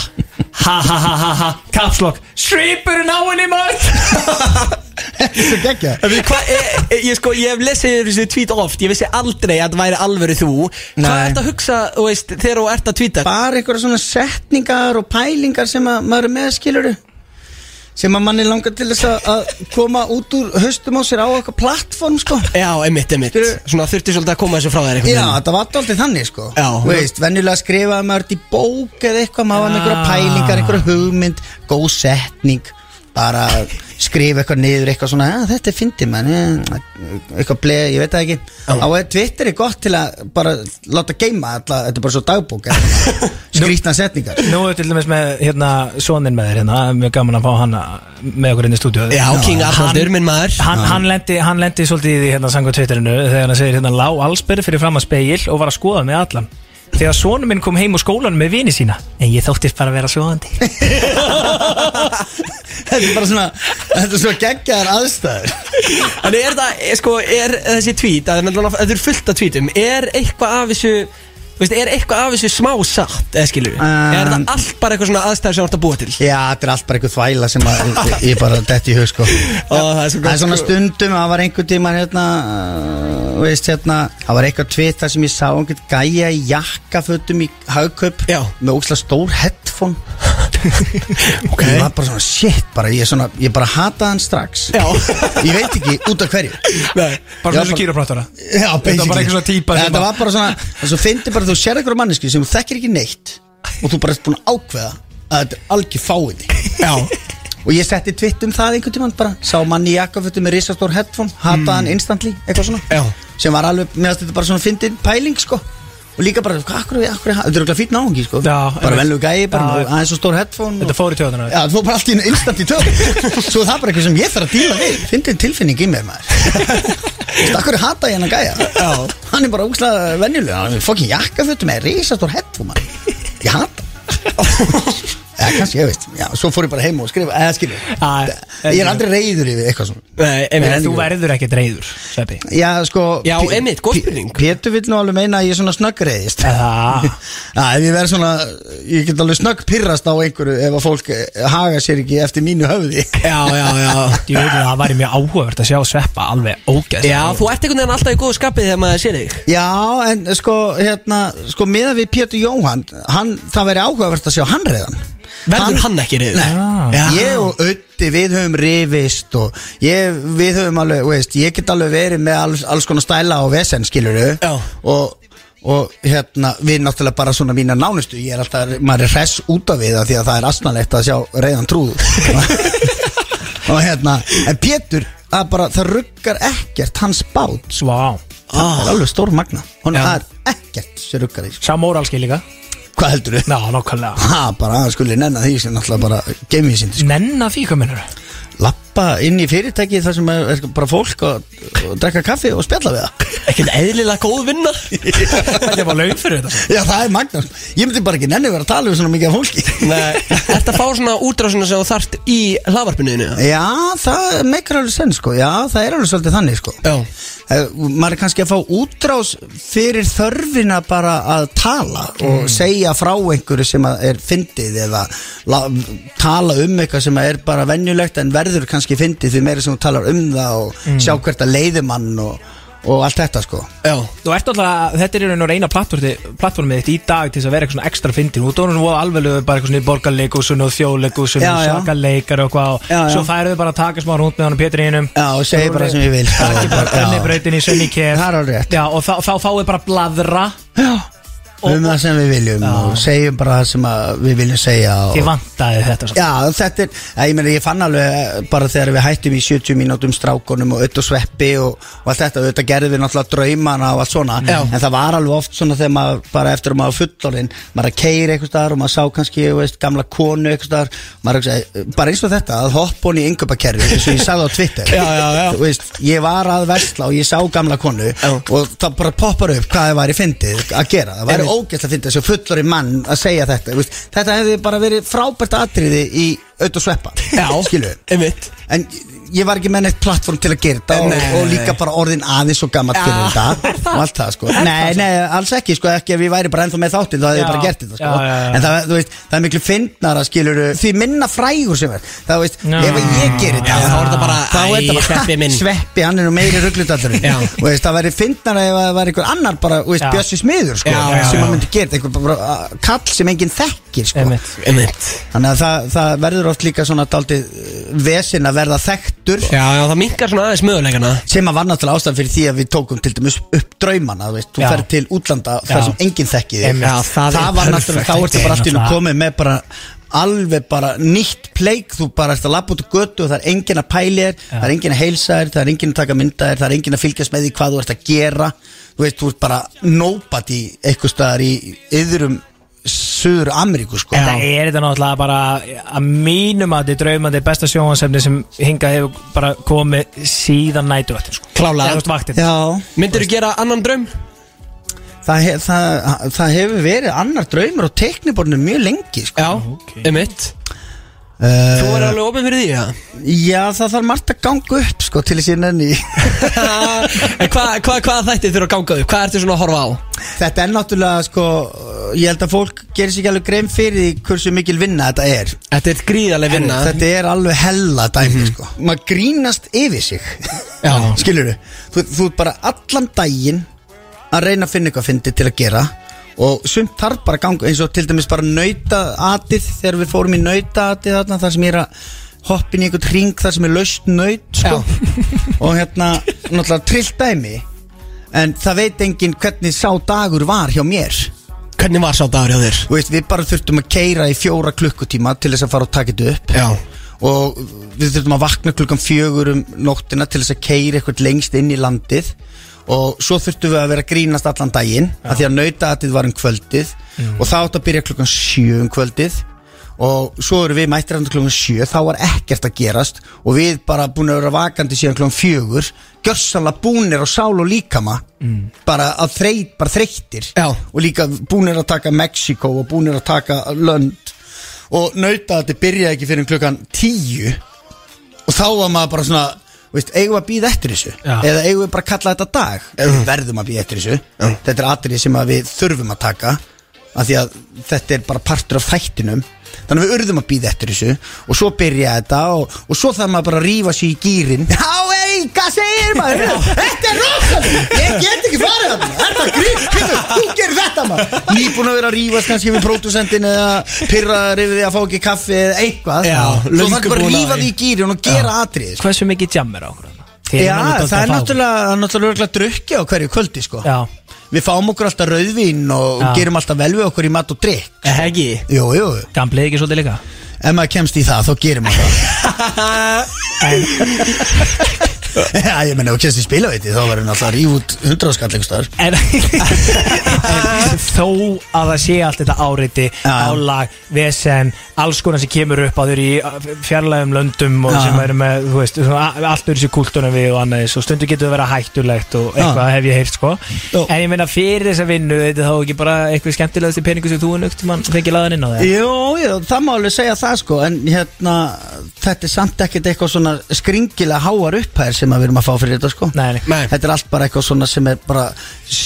S5: ha ha ha ha. Kapslokk. Svipurinn á henni maður.
S3: Þetta er geggja
S2: En við- Hvað, ég, ég sko, ég hef lesið þessu tweet oft Ég vissi aldrei að það væri alvöru þú Hvað
S3: Nei.
S2: ert að hugsa, þú veist, þegar þú ert að tweeta?
S3: Bara einhverja svona setningar og pælingar sem að maður er með skiluru sem að manni langar til þess að- að koma út úr höstum á sér á eitthvað plattform sko
S2: Já, einmitt, einmitt
S3: Skilurðu?
S2: Svona þurfti svolítið að koma þessu frá þér einhvern
S3: Já,
S2: veginn.
S3: þetta var alltaf þannig sko
S2: Já.
S3: Þú veist, venjulega skrifaði maður þetta í bók eða eitthvað, maður var með einhverja
S5: Ah.
S3: pælingar einhverja hugmynd, góð setning bara skrifa eitthvað niður eitthvað svona, ja, þetta er fyndið mann ja, eitthvað bleið, ég veit það ekki á eða Twitter er gott til að bara láta geima alltaf, þetta er bara svo dagbók eða skrýtna setningar
S5: Nú er til dæmis með, hérna, sonin með þér hérna, það er mjög gaman að fá hann með okkur inn í stúdíu.
S2: Já, King Arnaldur, minn maður
S5: hann, hann, lendi, hann lendi svolítið í því hérna sanga tveitarinu þegar hann segir hérna lá allsberg fyrir fram að speil og var að skoða með allan þegar sonum minn kom heim úr skólanum með vini sína en ég þóttist bara að vera svoðandi
S3: þetta er bara svona, þetta er svo geggjaðar aðstæður
S2: En er það, eh, sko, er þessi tweet að náttúrulega- Þetta er fullt af tweetum Er eitthvað af þessu þú Veist, er eitthvað af þessu smá satt, eða skilur
S3: Um,
S2: Er það allt bara eitthvað svona aðstæður sem þú ert að búa til?
S3: já, þetta er allt bara eitthvað þvæla sem að, ég, ég bara detti í hug sko
S2: Ó, það er svo
S3: Það er svona
S2: gott, sko.
S3: stundum, það var einhvern tíma hérna, uh, veist hérna Það var eitthvað tvið þar sem ég sá einhvern gæja í jakkafötum í haugkaup
S2: Já.
S3: Með óksla stór headphone Ok Ég var bara svona, shit, bara, ég, svona, ég bara hataði hann strax
S2: Já.
S3: Ég veit ekki út af hverju
S2: Nei.
S3: svona eins og
S5: kýrapráttara
S3: Já, basically
S5: bara einhver svona típa sem
S3: Þetta
S5: að-
S3: var bara svona, þess að fyndi bara þú sér einhverja manneski sem þú þekkir ekki neitt Og þú bara ert búin að ákveða að þetta er algjör fáinni
S2: Já,
S3: Og ég setti tvitt um það einhvern tímann bara Sá manni í jakkafötum með risastór headphone Hataði hann
S5: Hmm.
S3: instantly, eitthvað svona
S2: Já.
S3: Sem var alveg, meðast þetta bara svona fyndin pæling sko Og líka bara, hvað, akkur, akkur, þetta er okkur fýtt náungi sko
S5: Já,
S3: Bara
S5: einmitt.
S3: velug gæi, bara
S5: Já.
S3: já, aðeins svo stór headphone
S5: þetta fór í tjóðuna
S3: Já, þú fór bara allt í einu instant í tög Svo er það bara eitthvað sem ég þarf að díla við Fyndin tilfinning í mér maður Veistu, akkur hata ég hann að gæja
S2: Já.
S3: Hann er bara ógslag venjulega Hann er fokkin jakkafötum með risastór headphone maður. Ég hata hann. Já, kannski, ég veist Já, svo fór ég bara heim og skrifa Eða skilur
S5: Já,
S3: Ég er aldrei reyður yfir eitthvað svona
S2: Nei,
S3: Nei,
S2: einmitt
S5: þú verður ekki dreyður Sveppi
S3: Já, sko
S2: Já,
S3: P-
S2: einmitt, góð
S3: P-
S2: spurning.
S3: Pétur vill nú alveg meina að ég er svona snöggreiðist Já,
S5: Ah.
S3: ef ég verð svona Ég get alveg snögg pirrast á einhverju Ef að fólk eh, haga sér ekki eftir mínu höfði
S2: Já, já, já
S5: Ég veit að það væri mjög áhugavert að sjá Sveppa alveg ógeð
S2: Já, þú ert einhvern veginn alltaf í góðu skapið þegar maður sér þig
S3: Já, en sko, hérna Sko, meðan við Pétur Jóhann hann, Það væri áhugavert að sjá hann reyðan
S2: Verður hann ekki Ah. reyður?
S5: Nei.
S2: Já.
S3: Ég og Ötti, við höfum rifist og ég, við höfum alveg, veist, ég get alveg verið með alls, alls konar stæla og vesen, skilurðu
S2: Já.
S3: og, og hérna, við náttúrulega bara svona mína nánustu, ég er alltaf, maður er hress út af við það því að það er asnalegt að sjá reyðan trúð og hérna, en Pétur, það bara, það ruggar ekkert hans bát, sko.
S5: Svá
S3: það er alveg stór magna, hún
S5: Já.
S3: er ekkert sem ruggar í, sko.
S5: Sá móralski líka
S3: hvað heldur þau?
S5: Ná, nákvæmlega
S3: Ha, bara að hann skuli nennan því sem náttúrulega bara gemið síndi,
S5: Nenna því kominur
S3: lappa inn í fyrirtæki þar sem er er bara fólk og, og drekka kaffi og spjalla við það
S2: Ekkert eðlilega góð vinna
S5: Þetta var laun fyrir þetta sko.
S3: Já, það er magnað Ég myndi bara ekki nenni að vera að tala við svona mikið af fólki
S2: Nei Þetta fá svona útrásina sem þú þarft í hlavarpinuðinu
S3: Já, það meikar alveg senn sko Já, það er alveg svolítið þannig sko
S2: Já
S3: Eh, Maður er kannski að fá útrás fyrir þörfina bara að tala og segja frá einhverju sem að er fyndið eða la, tala um eitthvað sem að er bara venjulegt en verður kannski fyndið því meira sem þú talar um það og sjá hvert að leiði mann og, og allt þetta sko
S2: Já
S5: Þú ert alltaf, þetta er einhvern reyna plattformið þitt í dag til þess að vera eitthvað svona ekstra fyndin Þú dónum voða alveg bara eitthvað svona í borgarleikusun og þjóðleikusun
S3: Já,
S5: og
S3: já.
S5: sakaleikar og hvað og
S3: Já, já.
S5: Svo færðu bara að taka smá rúnd með honum Pétur einum
S3: Já, og segi bara sem ég vil
S5: Takk bara brennibrautin í sunni kef
S3: Það er alveg rétt.
S5: Já, og þá, þá fáið bara bladra
S3: um það sem við viljum og segjum bara það sem að við viljum segja og...
S5: Þið vantaði þetta samt.
S3: Já, þetta er, að, ég meina ég fann alveg eh, bara þegar við hættum í 70 mínútum strákonum og öll og sveppi og, og allt þetta, auðvitað gerðum við náttúrulega draumana og allt svona, en það var alveg oft svona þegar maður bara eftir að maður var fullorinn maður er að keira eitthvað staðar og maður sá kannski þú veist, gamla konu eitthvað staðar maður er að hugsa, eh, bara eins og þetta, að hoppa hún í yngöpakerfi eins og ég sagði á Twitter
S2: Já, já, já.
S3: Þú veist, ég var að versla og ég sá gamla konu og það bara poppar upp hvað það væri fyndið að gera, það væri ógæst að fyndið þessu fullori mann að segja þetta þú veist, þetta hefði bara verið frábært atriði í auð og sveppa, skilu
S2: Einmitt
S3: en ég var ekki með neitt plattform til að gera þetta og, og líka bara orðin aðeins og gammalt fyrir þetta og allt það sko nei, nei, alls ekki sko, ekki ef ég væri bara ennþá með þáttinn þá hefði
S5: Já.
S3: ég bara gert þetta sko
S5: Já, já, já.
S3: en það, þú veist, það er miklu fyndnara skilur því minna frægur sem er það, þú veist,
S5: Já.
S3: ef ég gerir þetta
S2: Já, þá er þetta bara,
S3: þá
S2: æ,
S3: er þetta bara
S2: Sveppi minn.
S3: sveppi, hann er nú meiri ruglutallur
S2: Já.
S3: og veist, það væri fyndnara ef það væri einhver annar bara, þú veist,
S5: Já.
S3: bjössi smiður sko,
S2: Já, já,
S3: sem
S2: já.
S3: hann myndi gera þetta, einhver bara, uh, kall sem enginn þekkir sko
S5: Einmitt.
S2: Einmitt
S3: Þannig að það, það verður oft líka svona daldið vesinn að verða þekktur
S2: Já, já, það minkar svona aðeins möguleikana
S3: sem að var náttúrulega ástæðan fyrir því að við tókum til dæmis upp draumana, þú veist, þú
S5: Já.
S3: ferð til útlanda þar
S5: Já.
S3: sem enginn þekki þig
S5: Einmitt. Já,
S3: það,
S5: það
S3: var
S5: er perfect.
S3: náttúrulega, þá ertu bara allt í nú komið með bara alveg bara nýtt pleik þú bara ert að labba út á götu og það er enginn að pæli þér það er enginn að heilsa þér, það er enginn að taka mynda þér það er enginn að fylgjast með því hvað þú ert að gera þú veist, þú ert bara nobody eitthvað staðar í yðrum Suður Ameríku sko
S5: Þetta er þetta náttúrulega bara að mínum að þið draumandi besta sjóhansefni sem hingað hefur bara komið síðan nætuvaktin sko.
S2: Klálega.
S5: Eða, þú veist, vaktin.
S3: Já.
S2: Myndirðu gera annan draum?
S3: það, hef, það, það hefur verið annar draumur á tekniborinu mjög lengi sko. Eh,
S2: Já, einmitt Þú er alveg opinn fyrir því, já
S3: Já, það þarf margt að ganga upp sko, til þess að ég nenni í.
S2: En hvað hva, hva þætti þurfa að ganga upp? Hvað ertu svona að horfa á?
S3: Þetta er náttúrulega sko, ég held að fólk gerir sér ekki alveg grein fyrir því hversu mikil vinna þetta er
S2: Þetta er gríðarlega vinna
S3: Þetta er alveg hella dæmi sko. Maður grínast yfir sig
S2: Mhm. Já.
S3: Skilurðu? Þú, þú ert bara allan daginn að reyna að finna eitthvað fyndi til að gera og sumt þarf bara að ganga eins og til dæmis bara nautaatið þegar við fórum í nautaatið þarna þar sem ég er að hoppa inn í einhvern hring þar sem er laust naut sko. og hérna náttúrulega trillt dæmi en það veit enginn hvernig sá dagur var hjá mér
S2: Hvernig var sá dagur hjá þér?
S3: Þú veist, við bara þurftum að keira í fjóra klukkutíma til þess að fara og taka þetta upp
S2: Já.
S3: og við þurftum að vakna klukkan fjögur um nóttina til þess að keira eitthvað lengst inn í landið og svo þurftum við að vera að grínast allan daginn af því að nautaatið var um kvöldið og það átt að byrja klukkan sjö um kvöldið og svo eru við mættir hann klukkan sjö þá var ekkert að gerast og við bara búin að vera vakandi síðan klukkan fjögur gjörsanlega búnir á sál og líkama bara að þreyt, bara þreyttir
S2: Já.
S3: og líka búnir að taka Mexiko og búnir að taka lönd og nauta að þetta byrja ekki fyrir klukkan tíu og þá var maður bara svona Veist, eigum við að býða eftir þessu
S5: Já.
S3: eða eigum við bara að kalla þetta dag eða við verðum að býða eftir þessu þetta er atrið sem að við þurfum að taka af því að þetta er bara partur af þættinum þannig að við urðum að býða eftir þessu og svo byrja þetta og, og svo þarf maður bara að rífa sér í gýrin Já, ei, hvað segir maður? þetta er rosalega, ég get ekki farið að það Þetta grín, Heyrðu, þú gerir þetta maður Nýbúin að vera að rífast kannski við pródusendin eða pyrraður yfir því að fá ekki kaffi eða eitthvað
S2: Já,
S3: Svo
S2: löngu
S3: þarf bara
S2: búin að
S3: að rífa
S2: því.
S3: því í gýrin og gera atrið sko.
S5: Hversu mikið jammer á okkur þarna? Þið eruð alveg
S3: Já,
S5: dálítið
S3: það er
S5: að fá-
S3: náttúrulega, náttúrulega örugglega drukki á hverju kvöldi sko.
S5: Já.
S3: Við fáum okkur alltaf rauðvín og
S5: Já.
S3: gerum alltaf vel við okkur í mat og drikk
S5: Eh,
S2: Hegi
S3: Jú, jú,
S5: Gamblið ekki svolítið líka
S3: ef maður kemst í það þá gerum maður það
S5: En
S3: Já, ég menna, og kynst í spilaveiti þá verður hann alltaf að ríf út hundra skall einhvers staðar.
S5: en, en þó að það sé allt þetta áreiti
S3: Já.
S5: álag, vesen alls konar sem kemur upp á þér í eh, fjarlægum löndum og
S3: Já.
S5: sem eru með þú veist, svona a- allt úr þessu kultúrnum við og annað eins og stundu getur það vera hættulegt og eitthvað hef ég heyrt sko
S3: Já.
S5: en ég meina fyrir þessa vinnu þetta þá ekki bara eitthvað skemmtilegasti peningu sem þú er nögt mann fengið laðan inn á það
S3: Jú, jú, það má alveg segja það sko En hérna, þetta er samt ekkert eitthvað svona skringilega háar upphæðir sem að við erum að fá fyrir þetta sko
S5: Nei, nei.
S2: Nei.
S3: Þetta er allt bara eitthvað svona sem er bara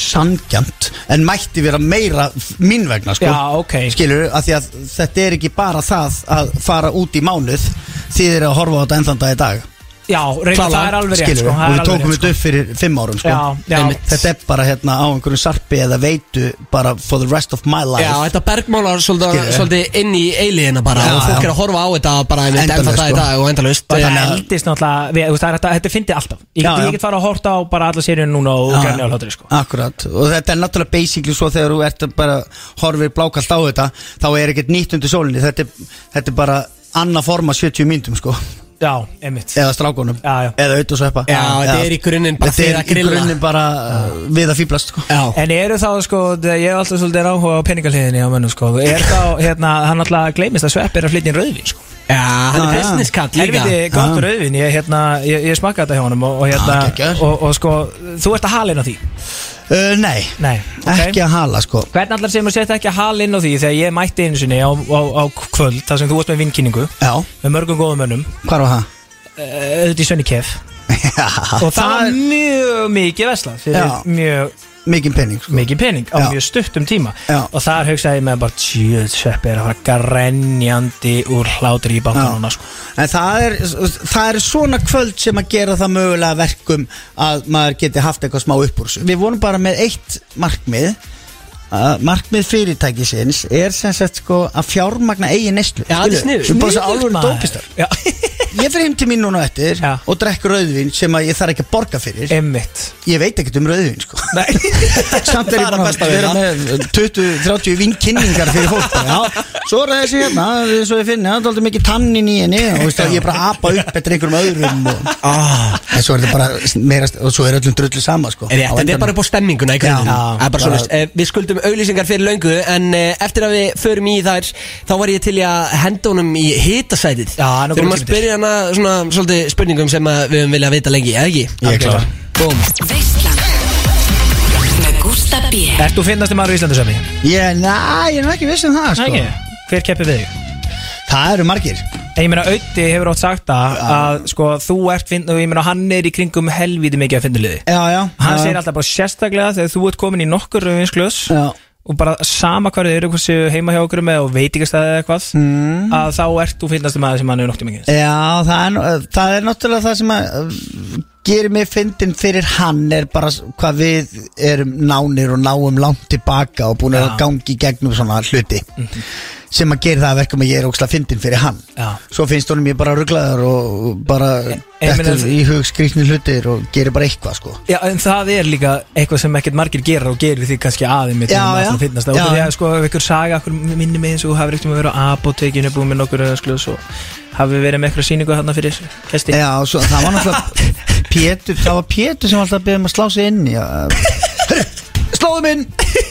S3: sangjant En mætti vera meira mín vegna sko
S5: Já, ok.
S3: Skilur, af því að þetta er ekki bara það að fara út í mánuð Þið eru að horfa á þetta ennþanda í dag
S5: já, reyna það er alveg rétt
S3: Skilur,
S5: sko, það
S3: og
S5: er
S3: við
S5: alveg
S3: tókum
S5: rétt,
S3: þetta upp fyrir fimm árum sko
S5: Já, já. Einmitt.
S3: Þetta er bara hérna á einhverjum sarpi eða veitu bara for the rest of my life
S2: Já, þetta bergmálar svolítið,
S3: Skilju.
S2: svolítið inn í eilíðina bara
S3: Já,
S2: og fólk
S3: já.
S2: er að horfa á þetta bara einmitt
S3: Endalaust,
S2: ennþá það í
S3: sko.
S2: dag og endalaust
S5: Bara
S2: Eh,
S5: það eldist náttúrulega við, þú veist, það er, þetta, þetta fyndi alltaf Ég
S3: Já,
S5: get,
S3: já.
S5: ég get fara að horta á bara alla sérjun núna og
S3: Já,
S5: græni
S3: já.
S5: á hlátri sko.
S3: Akkurat, og þetta er náttúrulega basically svo þegar þú ert að bara horfir blákalt á þetta þá er ekkert nýtt undir sólinni þetta er, þetta er bara annað forma 70 myndum sko,
S5: Já, einmitt
S3: eða strákunum
S5: Já, já.
S3: eða auðvitað sveppa
S2: Já, þetta er í grunninn bara þið að
S3: Þetta er í
S2: grilla.
S3: grunninn bara uh, við að fýblast sko
S2: Já,
S5: En eru þá sko, ég hef alltaf svolítið áhuga á peningaliðinni á mönnum sko Er þá, hérna, hann alltaf gleymist að svepp er að flytja inn rauðvin sko
S2: já, hann er
S3: Já, já.
S2: businesskall líka
S5: Helviti, gott
S3: Já.
S5: rauðvin, ég, hérna, ég, ég smakka þetta hjá honum og, og, hérna,
S3: Já, geggjaður.
S5: og, og sko, þú ert að hala inn á því
S3: uh, Nei,
S5: Nei, ok.
S3: ekki að hala sko
S5: Hvernig allar sem að setja ekki að hala inn á því þegar ég mætti einu sinni á, á, á kvöld þar sem þú varst með vinkynningu
S3: Já,
S5: með mörgum góðum mönnum
S3: hvað var það?
S5: eh, auðvitað í Sönni Kef og það var mjög mikið veslað fyrir
S3: Já.
S5: mjög
S3: mikið penning sko
S5: mikið pening á
S3: Já.
S5: mjög stuttum tíma
S3: Já.
S5: og þar hugsaði ég með bara tjöð sveppi er að fara grenjandi úr hlátri í bankanuna sko.
S3: En það er, það er svona kvöld sem að gera það mögulega verkum að maður geti haft eitthvað smá uppúr þessu. Við vorum bara með eitt markmið að markmið fyrirtækisins er sem sagt sko að fjármagna eigin neyslu
S2: Já, það er
S3: Skilurðu?
S2: sniðugt.
S3: Við erum bara svo
S5: Sniðugt,
S3: alvöru
S5: maður.
S3: dópistar
S5: Já.
S3: Ég fer heim til mín núna á eftir
S5: Já.
S3: og drekk rauðvin sem að ég þarf ekki að borga fyrir
S5: Einmitt
S3: Ég veit ekkert um rauðvin sko
S5: Nei.
S3: Samt er ég bara að vera með 20-30 vinkinningar fyrir fólk bara, já. Svo er það þessi hérna, svo ég finna Það er aldrei mikið tannin í henni og veist, ég er bara að apa upp eftir einhverjum öðrum og, En svo er þetta bara meira, og svo Ah. er öllum drullu sama sko.
S2: Rétt, þetta er bara upp á stemminguna í grunninn.
S3: Já.
S2: Það er bara
S3: Já.
S2: svoleiðis. Eh, Við skuldum auglýsingar fyrir löngu En eh, eftir að við förum í þær Þá var ég til í að henda honum í hitasætið
S5: Já, nú
S2: Þurfum
S5: komum
S2: að
S5: tími til.
S2: spyrja hana svona svolítið spurningum sem að við höfum viljað vita lengi, eða ekki?
S3: Ég er klár.
S2: Búm
S7: Veislan Með Gústa B
S5: Ert þú finnast maður í Íslandu sami?
S3: Ég, næ, ég er nú ekki viss um það sko.
S5: Ekki Hver keppir við þig?
S3: Það eru margir
S5: En ég meina Ötti hefur átt sagt það að sko þú ert finn og ég meina hann er í kringum helvíti mikið að finna liði
S3: Já, já
S5: Hann
S3: já.
S5: segir alltaf bara sérstaklega þegar þú ert komin í nokkur rauðinsklaus
S3: Já.
S5: og bara sama hvað þið eru hvort séu heima hjá okkur með og veitingastæði eða eitthvað mm. að þá ert þú finnast maður sem hann hefur noktið mikið
S3: Já, það er, nú- eh, það er náttúrulega það sem að eh, gerir mig fyndin fyrir hann er bara s- hvað við erum nánir og náum langt tilbaka og búin að
S5: Já. Mhm.
S3: gangi í gegnum svona hluti sem að gera það að verkum að ég er ókslega fyndin fyrir hann
S5: Já. E-
S3: svo finnst honum ég bara rugglaður og bara
S5: ég meina
S3: eftir
S5: það-
S3: í hug skrýtni hlutir og gerir bara eitthvað sko
S5: Já, en það er líka eitthvað sem ekkert margir gerir og gerir því kannski aðeim mitt
S3: Já, já.
S5: finnast,
S3: Já.
S5: og því að sko ef ykkur saga okkur minni mig eins og hafi reyndum að vera á apotekinu búið með nokkur öðaskljus og hafi verið með eitthvað síningu hann fyrir kesti
S3: Já, svo, það var náttúrulega Pétur, það var Pétur sem var alltaf að beða um að slá sig inn já. Herru, Slóðu minn,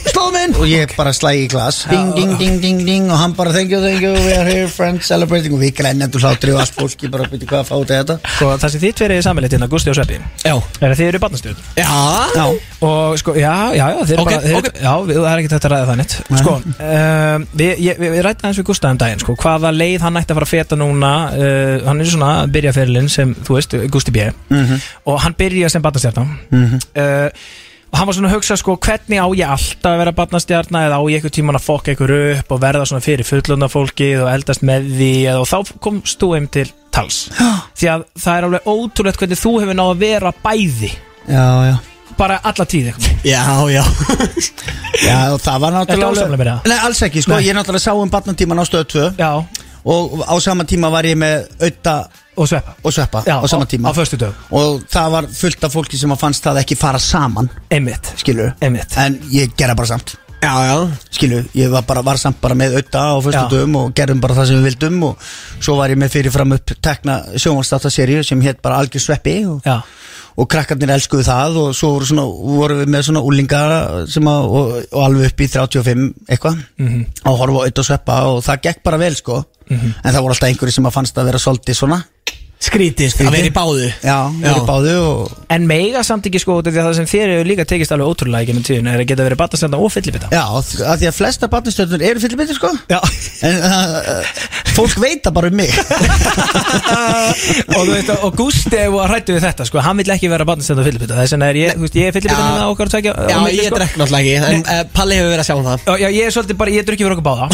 S3: slóðu minn Og ég bara slæ í glas Ding, ding, ding, ding, ding Og hann bara thank you, thank you, we are here, friends, celebrating Og við grænjandi hlátri og allt fólki bara byrja hvað að fá þetta
S5: Sko það sem þið tverið er samanleitt hérna, Gusti og Sveppi
S2: Já
S5: er að þið eru barnastjóð
S2: Já
S5: og sko, já, já, já, þeir
S2: Ok,
S5: bara þeir,
S2: ok.
S5: já, við, það er ekkert hægt að ræða það neitt sko, um, við, ég, við, við rættum aðeins við Gustaf um daginn, sko, hvaða leið hann ætti að fara að feta núna, uh, hann er svona að byrja fyrirlinn sem, þú veist, Gusti B og hann byrja sem batnastjarna uh, og hann var svona að hugsa sko, hvernig á ég alltaf að vera batnastjarna eða á ég eitthvað tíman að fokka ykkur upp og verða svona fyrir fullunda fólkið og eldast með því eða, og þá komst þú heim til tals, því að það er alveg ótrúlegt hvernig þú hefur náð að vera bæði
S3: Já, já
S5: bara alla tíð eitthvað
S2: Já, já
S3: Já, og það var náttúrulega
S5: Ertu ósamlega með það?
S3: Nei, alls ekki, sko,
S5: Nei.
S3: ég náttúrulega sá um barnatíman á stöðu 2
S5: Já,
S3: Og á sama tíma var ég með auða
S5: og sveppa
S3: og sveppa
S5: Já,
S3: á sama tíma
S5: Á, á föstu dög,
S3: Og það var fullt af fólki sem að fannst það ekki fara saman
S5: einmitt sko.
S3: skilur
S5: Einmitt.
S3: en ég gera bara samt
S2: Já, já
S3: skilu, ég var bara var samt bara með auða á fyrstu dögum og gerðum bara það sem við vildum og svo var ég með fyrirfram upp tekna sjónvarsdáttaseríu sem hétt bara Algjör Sveppi og,
S5: Já.
S3: og krakkarnir elskuðu það og svo voru, svona, voru við með svona úlingar sem að, og, og alveg upp í 35 eitthvað og horfa á auða sveppa og það gekk bara vel sko en það voru alltaf einhverju sem að fannst að vera svolítið svona
S5: Skrítið
S2: Að vera í báðu
S3: já, verið báðu og
S5: En meiga samt ekki sko út af því að það sem þér hefur líka tekist alveg ótrúlega í gennum tíðin er að geta verið batastönda og fyllibita
S3: já, að því að flesta barnastjörnur eru fyllibittir sko
S5: Já
S3: en uh, fólk veit það bara um mig
S5: og þú veist og Gústi hefur að hrættu við þetta sko hann vill ekki vera batastönda og fyllibita þess vegna er ég, þú veist, ég er fyllibita
S2: Já.
S5: minna okkar tvekja
S2: Já, ég drekk náttúrulega ekki En uh, Palli hefur verið að sjá um það
S5: sko. Já, já, ég er svolítið bara, ég drukki fyrir okkur báða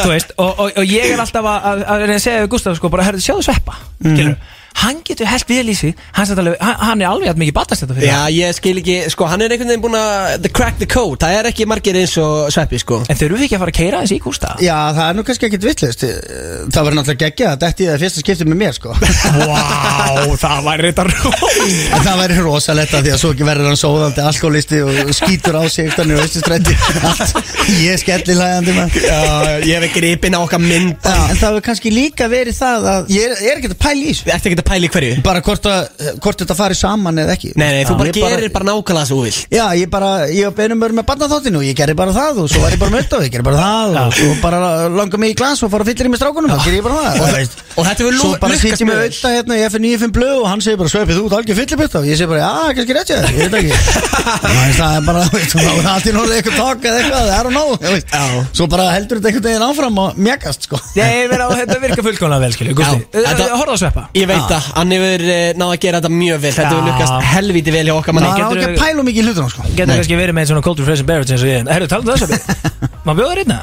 S5: Þú veist, og, og, og ég er alltaf að, að, að reyna að segja við Gustaf sko, bara, herrðu, sjáðu sveppa
S2: Mhm.
S5: mm. Hann getur held vel í sig Hann, samt alveg, hann, hann er alveg hægt mikið batast þetta fyrir
S2: Já, ég skil ekki Sko, hann er einhvern veginn búin að the Crack the code Það er ekki margir eins og sveppi, sko
S5: En þurfum við ekki að fara að keira þessi í Gústa?
S3: Já, það er nú kannski ekkit vittlust Það var náttúrulega geggjað að detti í það fyrsta skiptið með mér sko
S5: Vá, það væri þetta rós
S3: En það væri rosalegt að því að svo ekki verður hann sóðandi alkoholisti og skýtur á sig eftir hann í austustrætti Allt ég skelli hlægandi maður
S2: Já, ég hef ekki ripin á okkar mynd
S3: Já, En það hefur kannski líka verið það að Ég er, ég er ekkert að pæla í þessu
S2: Ertu ekki að pæla í hverju?
S3: Bara hvort, að, hvort þetta fari saman eða ekki
S2: Nei, nei, þú
S3: Já,
S2: bara
S3: ég
S2: gerir bara nákvæmlega þessu úvill
S3: Já, ég bara, ég var beinum mörg með barnaþáttinu og ég gerði bara það og svo var ég bara mötta og ég gerði bara það og svo bara langa mig í glas og fara að fylla í með strákunum og gerði ég bara það og, veist,
S2: og þetta hefur
S3: Svo
S2: lu-
S3: bara
S2: lukkast
S3: sýtti
S2: með
S3: mig
S2: þér.
S3: auðvitað hérna í FN95 blöð og hann segir bara sveipið út algjör fyllibutta og ég segi bara, já, kannski rétt ég þér, ég veit ekki Þannig það er bara, veist, þá er allt í norðið eitthvað takk eða eitthvað, það er að ná veist, Svo bara heldur þetta einhvern veginn áfram og mjagast sko
S5: Nei, ég verið á þetta virka fullkomlega vel, skilju Gústi,
S2: Já, þetta-
S5: horfða sveppa
S2: Ég veit það, hann hefur eh, náð að gera þetta mjög vel Þetta hefur
S5: Já.
S2: lukkast helviti vel hjá okkar
S3: Það
S2: manni
S3: er á ekki að pæla mikið í hlutunum sko
S5: Getur kannski verið með svona cold refreshing beverage eins og ég Herru, talaðu um það sveppi Má bjóða hérna? reyna?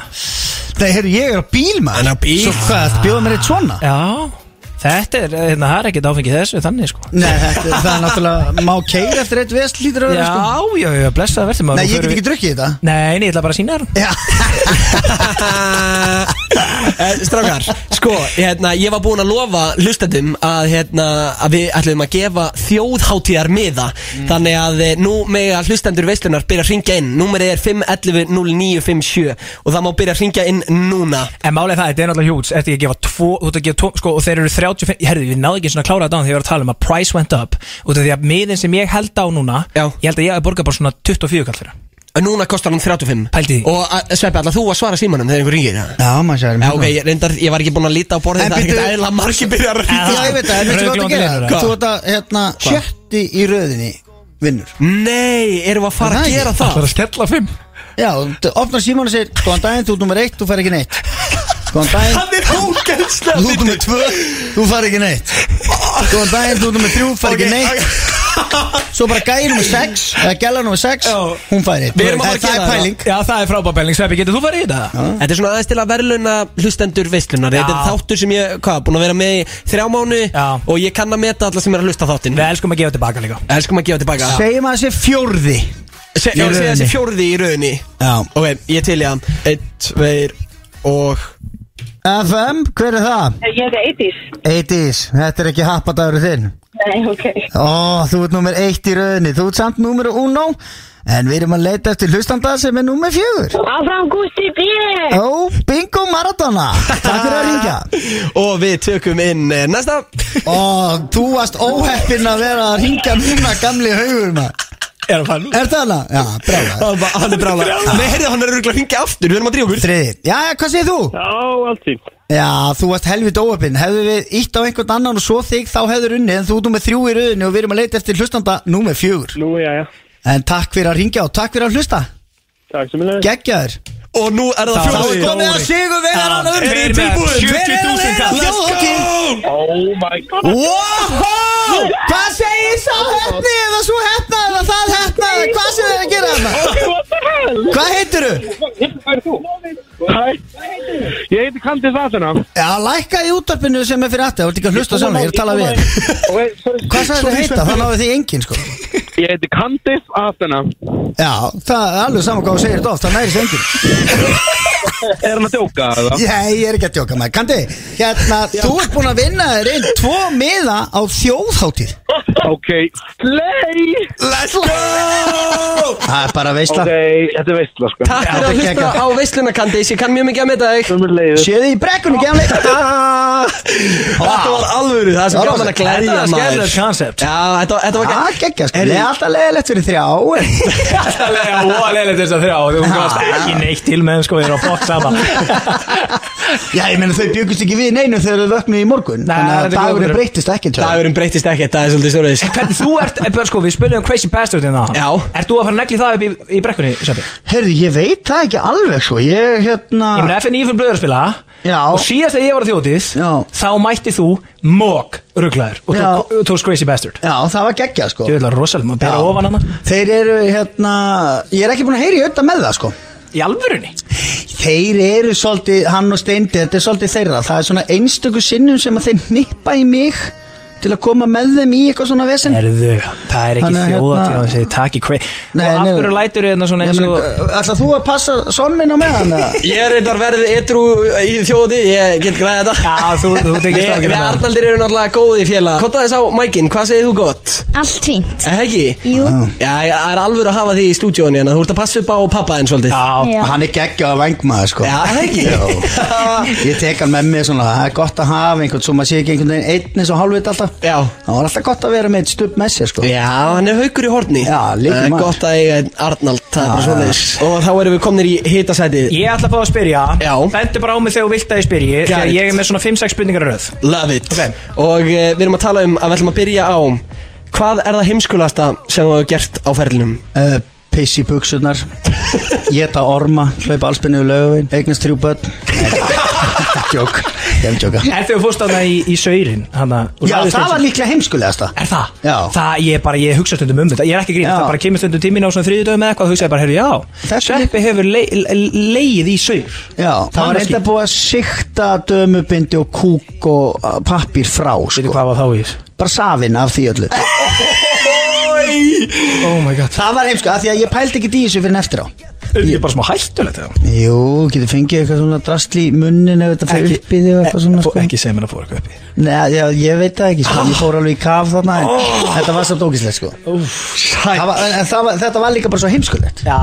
S3: Nei, heyrðu, ég er á bíl maður
S2: Hann er á bíl.
S3: Svo hvað, bjóða mér eitt svona?
S5: Já, þetta er, hérna, það er ekkert áfengið þessu þannig, sko
S3: Nei, þetta, það er náttúrulega má keira eftir eitt vest lítur öðru
S5: Já,
S3: sko
S5: já, já, blessaða verður maður
S3: Nei,
S5: Nú
S3: ég get
S5: förum
S3: ekki
S5: við-
S3: drukkið þetta
S5: Nei, nei, ég ætla bara að sína þér
S3: Já,
S2: Eh, Strákar, sko, hérna, ég var búinn að lofa hlustendum að, hérna, að við ætlum að gefa þjóðháttíðar miða Þannig að eh, nú mega hlustendur veislunar byrja að ringja inn Númerið er 511-0957 og það má byrja að ringja inn núna
S5: En málið er það, þetta er náttúrulega hjúts Þetta er að gefa tvo, þú ert að gefa tvo Sko, og þeir eru 35 Ég herði, við náðu ekki svona að klára þetta án Þegar ég var að tala um að price went up Út af því að miðin sem ég held á núna
S2: Já.
S5: Ég held að ég hafi borgað bara svona 24 kall fyrir hann.
S2: En Eh, Núna kostar hann 35
S5: Pældi því.
S2: Og eh, Sveppi, alltaf þú að svara símanum þegar einhver ringir
S3: já maður sér
S2: Já, ok, ég, reyndar, ég var ekki búinn að líta á borðið
S3: En
S2: Það er
S3: bíddu-
S2: ekkert eðla margir byrjar að
S3: Já, ég veit það, en veistu hvað
S5: Rauðglóandi
S3: það
S5: vinur,
S3: gera?
S5: eða?
S3: Þú ert að, hérna, sjötti í röðinni vinnur
S2: Nei, erum við að fara
S3: Það
S2: að
S3: er
S2: gera
S3: ekki.
S2: það?
S5: að skella 5
S3: Já, þú opnar síman og segir Góðan daginn, þú ert nummer eitt, þú fær ekki neitt Góðan daginn,
S2: er ógæðslega
S3: þú ert nummer tvö, þú fær ekki neitt Góðan daginn, þú ert nummer þrjú, fær ekki neitt Svo bara gæði nummer sex, eða gæla nummer sex
S5: Já.
S3: Hún fær neitt
S2: Við erum að fara að
S3: Það
S2: gera
S3: er
S2: það.
S3: pæling
S5: Já, það er frábær pæling Sveppi, getur þú farið í þetta?
S2: Þetta er svona aðeins til að verðluna hlustendur veislunar Þetta er
S5: Já.
S2: þáttur sem ég, hvað, búin að vera með í þrjá mánu
S5: Já.
S2: Og ég kann að meta alla sem er að hlusta á þáttinn
S5: Við elskum að gefa tilbaka líka
S2: Elskum að gefa tilbaka
S3: Segjum að þessi fjórði
S2: Se, Ég vil segja
S3: röðinni.
S2: þessi fjórði í rauninni
S3: Já.
S2: Ok, ég til ég að Eitt, tveir og
S3: FM, hver Eh, er það?
S8: Ég heiti Eidís.
S3: Eidís, þetta er ekki happadagur þinn
S8: Nei, ok.
S3: Ó, þú ert nummer eitt í rauninni Þú ert samt nummer uno En við erum að leita eftir hlustanda sem er nummer fjögur
S8: Áfram Gústi B.
S3: Ó, bingo maradona Takk fyrir að ringja
S2: Og við tökum inn eh, næsta
S3: Ó, þú varst óheppin að vera að ringja núna gamli haugur maður
S5: Er að fara nú?
S3: Er það hana? Já, bráða
S2: Hann bara- hann er brála Nei, heyrðu, hann er örugglega að hringja aftur Við erum að drífa okkur
S3: Þriði, já, hvað segir þú?
S9: Já, allt fínt.
S3: Já, þú varst helvit óheppin Hefðu við ítt á einhvern annan og svo þig þá hefður unni En þú ert nummer þrjú í rauninni og við erum að leita eftir hlustanda nummer fjögur
S9: Nú, já, já.
S3: En takk fyrir að ringja og takk fyrir að hlusta
S9: Takk sem ég leiði.
S3: Geggjaður
S2: Og nú er það
S3: Þá
S2: fjórði
S3: er komið að sigur vegaran að
S5: Þeir
S3: urðu
S5: með
S3: tilbúin
S5: 70.000 kall.
S3: Let's go
S9: Oh my god.
S3: Wow Hvað segir sá hefni eða svo hefna eða það hefna eða hvað sem þeir að gera þarna
S9: Okay, what the hell?
S3: Hvað heitir þú?
S9: Hvað er þú? Hæ? Ég heiti Kandis Atena.
S3: Já, lækka í útarpinu sem er fyrir aftur, það voru ekki að hlusta saman, ég er að tala við þér.
S9: Wait, sorry.
S3: Hvað sagði þú heita? Það náði því enginn sko
S9: Ég heiti Kandis Atena.
S3: Já, það er alveg saman hvað þú segir þetta oft, það næri þessu enginn
S9: Er hann að djóka eða?
S3: Nei, ég er ekki að djóka maður Kandi, hérna, þú ert búin að vinna þér inn tvo miða á þjóðháttíð
S9: Ok, slay!
S2: Let's go
S3: Á, Það er bara veistla
S9: Ok,
S3: okay.
S9: þetta er veistla sko
S2: Takk fyrir að
S3: Þetta er
S2: hlusta á veisluna Candice, ég kann mjög mikið að meta þig
S9: Sumir leiðir
S3: Séðu í brekkunni, gefnleik
S2: Ah, Þetta var alvöru, það sko? er svo
S3: Það var
S2: gaman að glerja
S5: Þetta er
S2: maður
S5: skemmtilegt koncept
S2: Já, þetta, þetta var
S3: Það
S2: gaman
S3: er geggja, sko Það er alltaf leðilegt fyrir þrjá
S5: Það er óa leiligt þess að þrjá Þú komast ekki neitt til með þeim, sko Ég er á fokk saman
S3: Já, ég meina þau bjögust ekki við neinu þegar þau vöknu í morgun
S5: Nei,
S3: Þannig
S5: þetta
S3: að
S5: er
S3: dagurinn
S5: okkur.
S3: breytist ekki tjá.
S2: Dagurinn breytist ekkert, það er svolítið stóriðis
S5: Hvernig þú ert, eh, Björn, sko, við spilum um Crazy Bastard hérna áðan.
S2: Já.
S5: Ert þú að fara að negli það upp í, í brekkunni, Sjöppi?
S3: Herðu, ég veit það ekki alveg svo Ég, hérna
S5: Ég meina FNI fyrir blöður að spila
S3: Já.
S5: Og síðast þegar ég var á þjótið
S3: Já.
S5: Þá mætti þú mokk rugglaður Og
S3: Já.
S5: tók- og tókst Crazy Bastard
S3: Já, það var geggja, sko
S5: Þú veitlega rosalega, maður bera
S3: Já.
S5: ofan hann
S3: Þeir eru, hérna Ég er ekki búin að heyri auðvitað með það, sko
S5: Í alvörunni?
S3: Þeir eru svolítið, hann og Steindi, þetta er svolítið þeirra Það er svona einstöku sinnum sem að þeir nippa í mig Til að koma með þeim í eitthvað svona vesen
S5: Erðu, það er ekki
S3: Þannig að
S5: þjóðatíð
S3: hérna-
S5: að segja takk í Crazy
S3: Nei,
S5: Og af
S3: nei.
S5: hverju lætur þau svona eins og
S3: Ætla eh, þú að passa sonnin á meðan? eða?
S2: Ég er reyndar verðið edru í þjóði, ég get græðið þetta
S5: Já, þú, þú tekist
S2: Ég-
S5: það
S2: Við
S5: ekki
S2: Arnaldir eru náttúrulega góði í félag Kotta þess á mækin, hvað segir þú gott?
S1: Allt fínt.
S2: Er það ekki?
S1: Jú.
S2: Já, það er alveg að hafa því í stúdíónu hérna Þú ert að passa upp á pappa þinn svolítið
S5: Já,
S1: Já.
S3: Hann er geggjað að vengmaður sko
S2: Já, er það ekki?
S3: Jó. Ég tek hann með mig svona Það er gott að hafa einhvern svo maður sé ekki einhvern veginn einn eins og hálfvit alltaf
S2: Já.
S3: Það var alltaf gott að vera með eitt stubb með sér sko
S2: Já, hann er haukur í horni
S3: Já, líka
S2: Það er
S3: maður.
S2: Gott að eiga einn Arnald, það er bara
S3: Já,
S2: svolítið Og þá erum við komnir í hitasætið
S5: Ég ætla að fá að spyrja
S2: Já.
S5: Bendu bara á mig þegar þú vilt að ég spyrji því að
S2: Gæt.
S5: Ég er með svona 5-6 spurningar í röð
S2: Love it
S5: Ok.
S2: Og uh, við erum að tala um að við ætlum að byrja á Hvað er það heimskulasta sem þú hefur gert á ferlinum?
S3: uh, Piss í buksunar Geta orma Hlaupa allspennu í löguvin Eignast þrjú börn Jók Ég hef tjóka
S5: Er þegar þú fórst þarna í, í saurin hana, og
S3: Já,
S5: lagðist
S3: það
S5: eins og-
S3: var líklega heimskulegasta
S5: Er það?
S3: Já.
S5: Það, ég bara, ég hugsa stundum um þetta Ég er ekki að grín,
S3: Já.
S5: það bara kemur stundum tímina á svona þriðjudögum eða eitthvað og hugsaði bara, heyrðu, já
S3: Þessu-
S5: Sveppi hefur le- le- leið í saur
S3: Já, það var
S5: Manneskju.
S3: reynda búið að sikta dömubindi og kúk og pappir frá
S5: Veitu
S3: sko.
S5: hvað var þá í þessu?
S3: Bara safin af því öllu
S5: Oh my god
S3: Það var heimsko, af því að ég pældi ekki í þessu fyrir en eftir á
S5: Ég er bara smá hættulegt það
S3: Jú, getur fengið eitthvað svona drastli í munnin ef þetta fyrir upp í þig og eitthvað svona
S5: Fó-
S3: sko.
S5: Ekki segja mér að fóra eitthvað upp í
S3: Nei, já, ég veit það ekki, sko, ég fór alveg í kaf þarna en
S2: Oh.
S3: þetta var samt ógíslega sko. Það var, en, en það var, þetta var líka bara svo heimskulegt
S5: Já,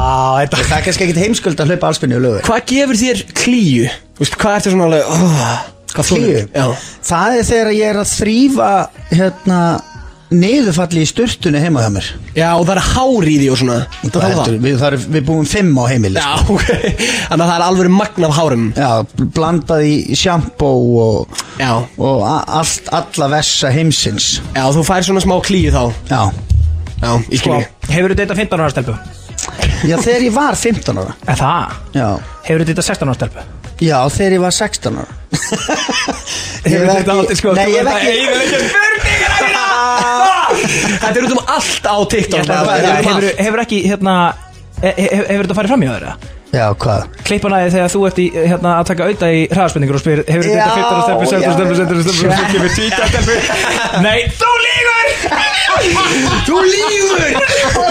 S5: þetta
S3: Það er kannski ekkit heimskuld að hlaupa allspennu í lögu
S2: Hvað gefur þér klíu? Þú veist, hvað ertu svona alveg oh, Hvað
S3: Klíu?
S2: þolir? Já
S3: Það er þegar ég er að þrýfa hérna, niðurfalli í sturtunni heima hjá mér
S2: Já, og það er hár í því og svona
S3: Það
S2: er
S3: heldur, við, það er, við búum fimm á heimili sko.
S2: Já, ok Þannig að það er alveg magn af hárum
S3: Já, blandað í sjampó og,
S2: Já,
S3: og a- allt, alla vessa heimsins
S2: já, þú fær svona smá klíu þá
S3: Já,
S2: Já, ég skil
S5: Sko,
S2: ég
S5: hefur þetta 15 ára stelpu?
S3: já þegar ég var 15 ára
S5: Er það?
S3: Já,
S5: Hefur þetta 16 ára stelpu?
S3: já þegar ég var 16 ára Ég hef
S5: Hefur þetta
S3: ekki-
S5: aldrei sko
S3: Nei, ég hef ekki
S2: Þetta er út um allt á TikTok
S5: Ég ætla að
S2: bara,
S5: spyrja,
S2: þetta er um
S5: hefur,
S2: allt.
S5: hefur ekki hérna he- he- Hefur þetta farið fram í þeirra?
S3: Já, hvað?
S5: Kleipan aðeið þegar þú ert í, hérna, að taka auða í hraðspendingur og spyr Hefur þetta
S3: Já,
S5: 15 ára stelpu,
S3: já,
S5: 16 stelpu,
S3: já.
S5: 17 stelpu, 17 stelpu, 17 stelpu, 17 stelpu Nei, þú lígur!
S3: Þú lífur!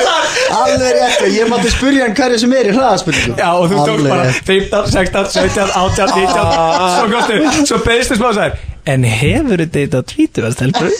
S3: Alveg rétt, ég mátti spurja hann hverju sem er í hraðaspurningum
S5: Já, og þú tókst
S3: Alveg
S5: bara
S3: rétt.
S5: 15, 16, 17, 18, 19 Svo kostu, svo beðstu smá sær En hefur þetta þetta tvítuða stelpu?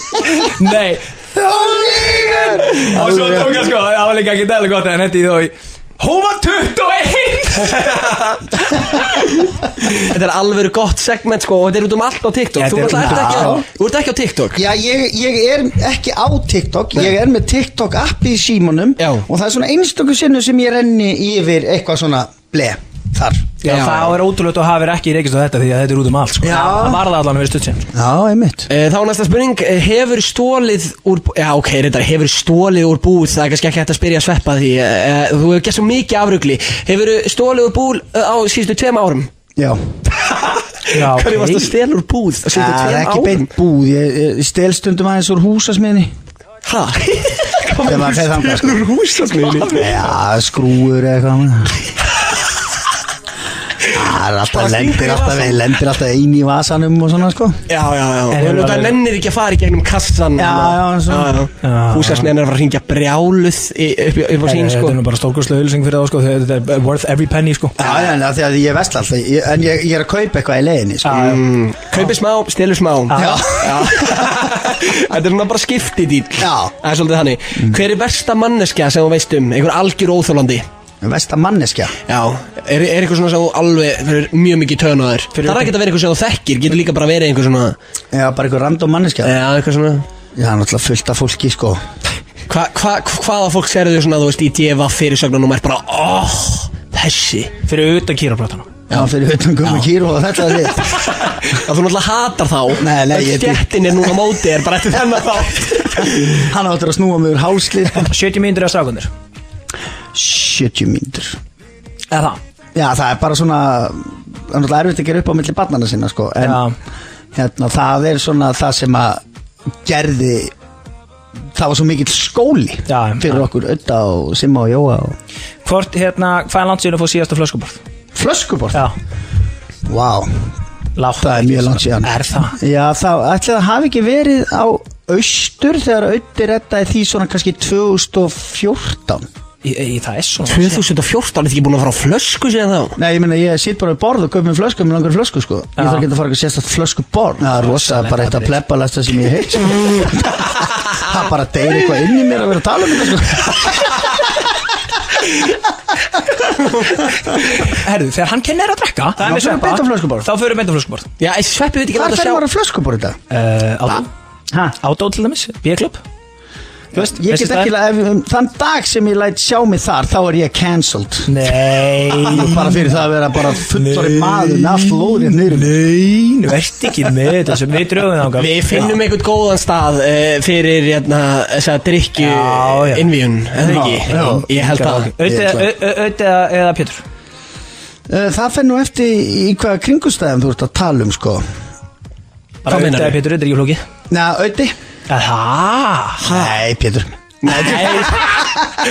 S5: Nei,
S3: Þú lífur!
S5: og svo tók hann sko Það var líka ekki dæli gott en hendi í þó í Hún var 21!
S2: Þetta er alveg gott segment sko Og þetta er út um allt á TikTok
S5: Þetta
S2: Þú ert
S5: er út um
S2: ekki, á-
S3: allt.
S2: þú ert ekki á TikTok
S3: Já, ég, ég er ekki á TikTok, ég er með TikTok appi í símanum
S2: Já.
S3: og það er svona einstöku sinnu sem ég renni yfir eitthvað svona ble þar.
S5: Já,
S2: Já.
S5: það er ótrúlegt að hafa verið ekki reykist á þetta því að þetta er út um allt sko.
S3: Já.
S5: Það var það allan við sko. stuttsinn
S3: Já, einmitt.
S2: Eh, Þá er næsta spurning, eh, hefur stólið úr, já ok, reyndar, hefur stólið úr búð, það er kannski ekki hægt að spyrja sveppa því, eh, eh, þú hefur gert svo mikið afrugli, hefur stólið úr búð eh, á síðustu tveim árum?
S3: Já,
S5: Já,
S2: Hverju varst að
S5: ok
S2: stela úr búð á síðustu
S3: það er
S2: tveim
S3: Ah, ekki
S2: árum?
S3: beint búð, ég, ég stel stundum aðeins úr húsasmiðni.
S2: Ha?
S3: Þegar maður fer þangað, sko.
S2: Úr húsasmiðinni?
S3: Já, skrúur eða eitthvað. Það er alltaf, lendir alltaf, lendir alltaf eini í vasanum og svona sko
S2: Já, já, já
S5: En
S2: En
S5: hefur
S2: það
S5: alveg-
S2: nennir ekki að fara í gegnum kassan
S3: Já, já, svona.
S2: já Húsasneiðan er að fara að hringja brjáluð í- upp upp á
S5: Þetta
S2: sín, sko
S5: er nú bara stórkurslega auðlýsing fyrir þá sko Þetta er worth every penny sko
S3: Já, já, en það er því að ég vesla alltaf, ég, en ég, ég er að kaupa eitthvað í leiðinni sko
S2: Mm, Kaupið smá, stelur smá Já Þetta er svona bara skipti dýl
S3: Já.
S2: Það er svolítið þannig Hver er versta manneskja sem þú veist um? Einhver algjör óþólandi
S3: Vesta manneskja
S2: Já Er, er eitthvað svona sem þú alveg fyrir mjög mikið tön á þér Það er ekki að vera eitthvað sem þú þekkir Getur líka bara verið einhver svona
S3: Já, bara eitthvað random manneskja
S2: Já, eitthvað svona
S3: Já, náttúrulega fullt af fólki sko
S2: hva, hva, Hvaða fólk serðu þau svona, þú veist, í djefa fyrirsögnum og maður bara, óh, þessi
S5: Fyrir utan kýraplatana
S3: Já, fyrir utan gummi kýru og þetta er þitt
S2: að þú náttúrulega hatar þá
S3: Nei, nei, ég-
S2: Stjettin er núna á móti er bara eftir þennan þá
S3: Hann áttur að snúa mig úr hálslið sko.
S5: 70 mínútur eða strákundir
S3: 70 mínútur
S5: Eða það
S3: Já, það er bara svona það er náttúrulega erfitt að gera upp á milli barnana sinna sko, en
S5: Já.
S3: hérna, það er svona það sem að gerði það var svo mikill skóli
S5: Já,
S3: fyrir
S5: já.
S3: okkur Ödda og Simma og Jóa og
S5: Hvort hérna, hvað er landsíðun að fá síðasta flöskuborð?
S3: flöskubort
S5: Já,
S3: wow,
S5: lágt
S3: það er mjög langt síðan
S5: Er það?
S3: Já, það ætli það hafi ekki verið á austur þegar Öddi reddaði því svona kannski 2014
S5: Í, í, það er svona
S2: 2014 er ekki búin að fara á flösku síðan þá
S3: Nei, ég meina, ég sitt bara við borð og kaup mér flösku með langar í flösku, sko Ég
S5: Já.
S3: þarf ekki að fara ekki að sérstætt flösku borð Það er rosa, bara eitt að pleppa lesta sem ég heit Það bara deyr eitthvað inn í mér að vera að tala um þetta, sko
S5: Herðu, þegar hann kennir að drekka Það
S3: Þá
S5: er með
S3: förum við beint
S5: sveppa
S3: á flöskuborð.
S5: Þá fyrir beint á flöskuborð
S2: Já, ég sveppi veit ekki
S3: Hvað
S2: hvað að
S3: fer
S2: sjá
S3: maður að flösku borð í dag?
S5: uh, Ádó
S3: Ha?
S5: Ádó til dæmis, B-klubb Þú veist,
S3: Ég
S5: þessi
S3: get ekki,
S5: staðir.
S3: ef, um, þann dag sem ég læt sjá mig þar, þá er ég cancelled
S5: Nei
S3: Bara fyrir það að vera bara fullori maður með allt lóðrið niður
S5: Nei, nú ert ekki með þetta sem við drögum þangað
S2: Við finnum einhvern góðan stað uh, fyrir hérna, þess að drikju
S5: Já, já.
S2: innvíun, eða ekki?
S3: Já, já.
S2: Ég held að
S5: Auðvitað eða Pétur
S3: Uh, Það fer nú eftir í hvaða kringustæðum þú ert að tala um, sko
S5: Bara
S2: Hvað
S5: auðvitað
S2: meinarðu?
S5: eða Pétur, þetta er ekki flókið
S3: Næ, Öddi?
S5: Það
S3: Nei, Pétur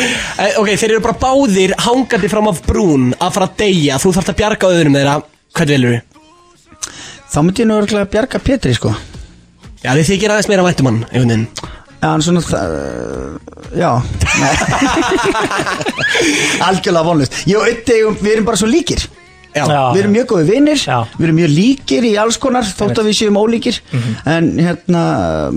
S2: Eh, Ok, þeir eru bara báðir hangandi fram af brún að fara að deyja Þú þarft að bjarga öðrum þeirra Hvað velur þú?
S3: Þá myndi ég nú örgulega að bjarga Pétri, sko
S2: Já, þið þykir aðeins meira vættum hann, einhvern veginn
S3: Já, en svona það, já, nei. algjörlega vonlust. Ég og Öddi, eigum- við erum bara svo líkir.
S2: Já,
S5: Já.
S3: við erum mjög góði vinnir,
S5: Já.
S3: við erum mjög líkir í alls konar, þótt að við séum ólíkir,
S5: Mhm.
S3: en hérna,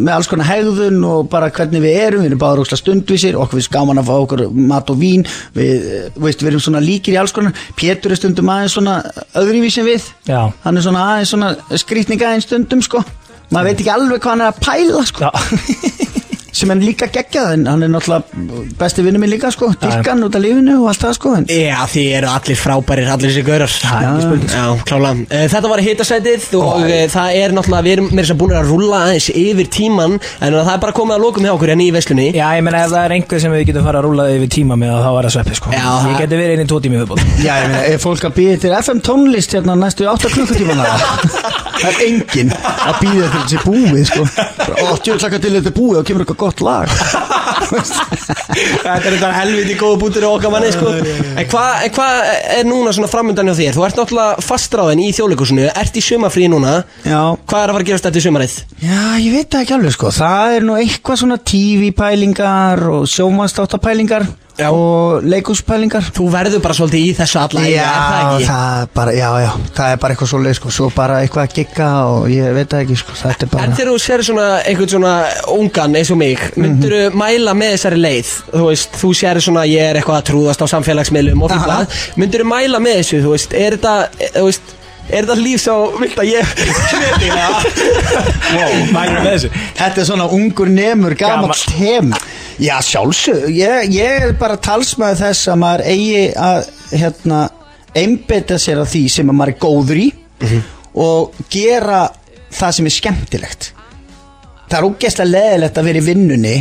S3: með alls konar hegðun og bara hvernig við erum, við erum báður ósla stundvísir, okkur finnst gaman að fá okkur mat og vín, við, eh, veist, við erum svona líkir í alls konar, Pétur er stundum aðeins svona öðruvísi en við,
S5: Já.
S3: hann er svona aðeins svona skrýtninga aðeins stundum, sko. Maður veit ekki alveg hvað hann er að pæla, sko sem hann líka geggjað en hann er náttúrulega besti vinnu minn líka sko dyrkan út af lífinu og allt það sko en
S2: Já, þið eru allir frábærir, allir þessi gaurar
S3: er ekki spurning.
S2: Já, klála Þetta var hitasætið og oh. það er náttúrulega Við erum meira sem búin að rúlla aðeins yfir tíman En það er bara komið að lokum hjá okkur hérna í veslunni
S5: Já, ég meina ef það er einhver sem við getum fara að rúla yfir tíma með þá er það sveppi sko
S2: Já,
S5: Ég
S2: það-
S5: geti verið inn í tvo tími viðbót
S3: já ég meina er fólk að býða til FM tónlist hérna næstu 8 klukkutíman það er enginn að býða til þessi búið sko og djúrlaka til þetta er búið og kemur eitthvað gott lag
S2: Þetta er þetta helviti góða bútur á okkar manni sko. En hvað hva er núna svona framöndan hjá þér? Þú ert náttúrulega fastráðin í þjóðleikusinu Ert í sumafrí núna
S3: já
S2: Hvað er að fara að gerast eftir sumarið?
S3: Já, ég veit það ekki alveg sko Það er nú eitthvað svona TV-pælingar og sjómanstáttarpælingar
S2: Já.
S3: og leikúspælingar
S2: Þú verður bara svolítið í þessu alla ævi, er það
S3: Já,
S2: ekki?
S3: það er bara, já, já, það er bara eitthvað svoleið sko, svo bara eitthvað að gigga og ég veit það ekki sko, þetta er
S2: En
S3: bara
S2: þegar þú sér svona einhvern svona ungan eins og mig Myndur
S3: Mhm.
S2: mæla með þessari leið? Þú veist, þú sér svona ég er eitthvað að trúðast á samfélagsmiðlum og fyrir
S3: Aha.
S2: það Myndur mæla með þessu, þú veist, er þetta, e, þú veist Er þetta líf svo vilt að ég Kneti,
S5: Wow, mælum með þessu
S3: Þetta er svona ungur nemur, gamall
S5: Gamall.
S3: heim Já, sjálfsög, ég, ég er bara talsmaður þess að maður eigi að, hérna, einbeta sér að því sem að maður er góður í og gera það sem er skemmtilegt Það er ógeðslega leðilegt að vera í vinnunni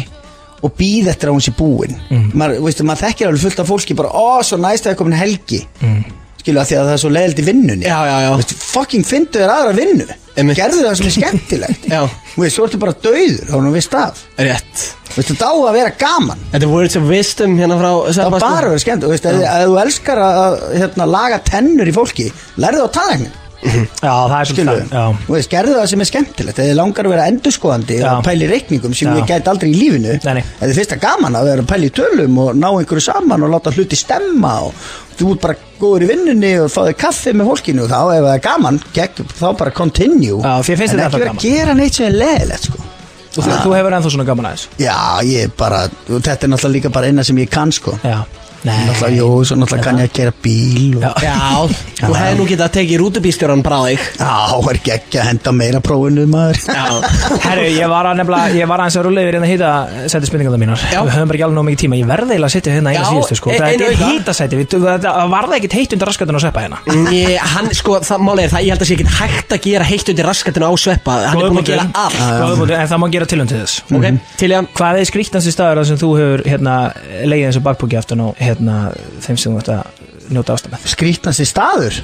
S3: og býða eftir að hún sé búin
S2: Mm.
S3: maður, veistu, maður þekkir alveg fullt af fólki bara, ó, svo næst að það er komin helgi mm. skilu að því að það er svo leðilt í vinnunni
S2: Já, já, já.
S3: Veistu, fucking fyndu þér aðra vinnu
S2: Einmitt.
S3: gerðu það sem er skemmtilegt
S2: Já.
S3: Þú veist, svo ertu bara döður á nú við stað
S2: Rétt
S3: Veistu, þetta á að vera gaman
S2: Þetta er words of wisdom hérna frá
S3: Það
S2: Sveppa,
S3: á
S2: sko.
S3: bara að vera skemmt Veistu, ef ef þú elskar að- að hérna, laga tennur í fólki Lærðu á talæknum
S5: Já, það er svolítið
S3: Skiluðu,
S5: það Já,
S3: þú veist, gerðu það sem er skemmtilegt Þegar þið langar að vera endurskoðandi
S5: Já.
S3: og pæli reikningum sem
S5: Já.
S3: ég gæti aldrei í lífinu
S5: Nei, nei.
S3: Ef þið finnst það gaman að vera að pæli tölum og ná einhverju saman og láta hluti stemma og þú ert bara góður í vinnunni og fáðu kaffi með fólkinu og þá ef það er gaman, gegn, þá bara continue
S5: Já, því finnst
S3: En
S5: þetta alltaf
S3: ekki vera að gera neitt sem er leðilegt sko.
S5: þú, þú, þú hefur ennþá svona gaman aðeins
S3: Já, ég er bara, þetta er náttúrulega líka bara eina sem ég kann sko
S5: Já
S3: Náttúrulega, jú, svo náttúrulega kann ég að gera bíl og...
S5: Já.
S2: Já, þú hefði nú getað að tekið rútubílstjóran bara á þig
S3: Já, er ekki ekki að henda meira prófinu maður
S5: Herru, ég var að nefnilega, ég var aðeins að rúlega yfir hérna hýta sæti spurningarna mínar
S2: Já.
S5: Við höfum bara ekki alveg nóg mikið tíma Ég verði eiginlega að setja hérna eina
S2: Já,
S5: síðustu sko
S2: e-
S5: Þetta
S2: einu
S5: er
S2: auka.
S5: hýta sæti, það var það ekkert heitt undir raskatun og sveppa hérna
S2: Ég, hann, sko, það máli er það, ég held að sé ekki hægt að gera heitt undir raskatinu á sveppa Hann er búin að gera allt
S5: Góður punktur, En það má gera tilum til þess
S3: Mhm.
S2: Ok, til ég hann
S5: Hvað er skrýttansi staður þar sem þú hefur hérna, leiðið eins og bakpóki aftan og hérna, þeim sem þú ætti að njóta ástæð með?
S3: Skrítnasti staður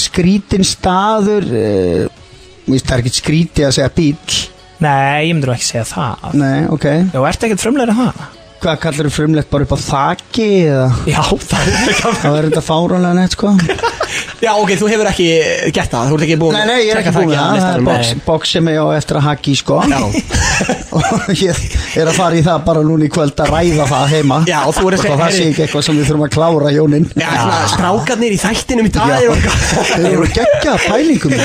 S3: Skrítin staður uh, Víst, það er ekkert skríti að segja bíl
S5: Nei, ég myndi nú ekki segja það.
S3: Nei, ok
S5: Já, ertu ekkert frumlegri en það?
S3: Hvað kallar þú frumlegt bara upp á þaki eða
S5: Já, það er ekki
S3: Það er þetta fáránlega neitt sko Nei,
S2: Já, ok, þú hefur ekki gert það, þú ert ekki búin
S3: nei, ég er ekki búin með það Það er box, box sem ég á eftir að haki í sko Og ég er að fara í það bara núna í kvöld að ræða það heima
S2: Já, og þú er að segja-
S3: Og það sé ekki eitthvað sem við þurfum að klára hjónin
S2: Já, svona, strákarnir í þættinum í dag eru
S3: Þeir eru geggja pælingum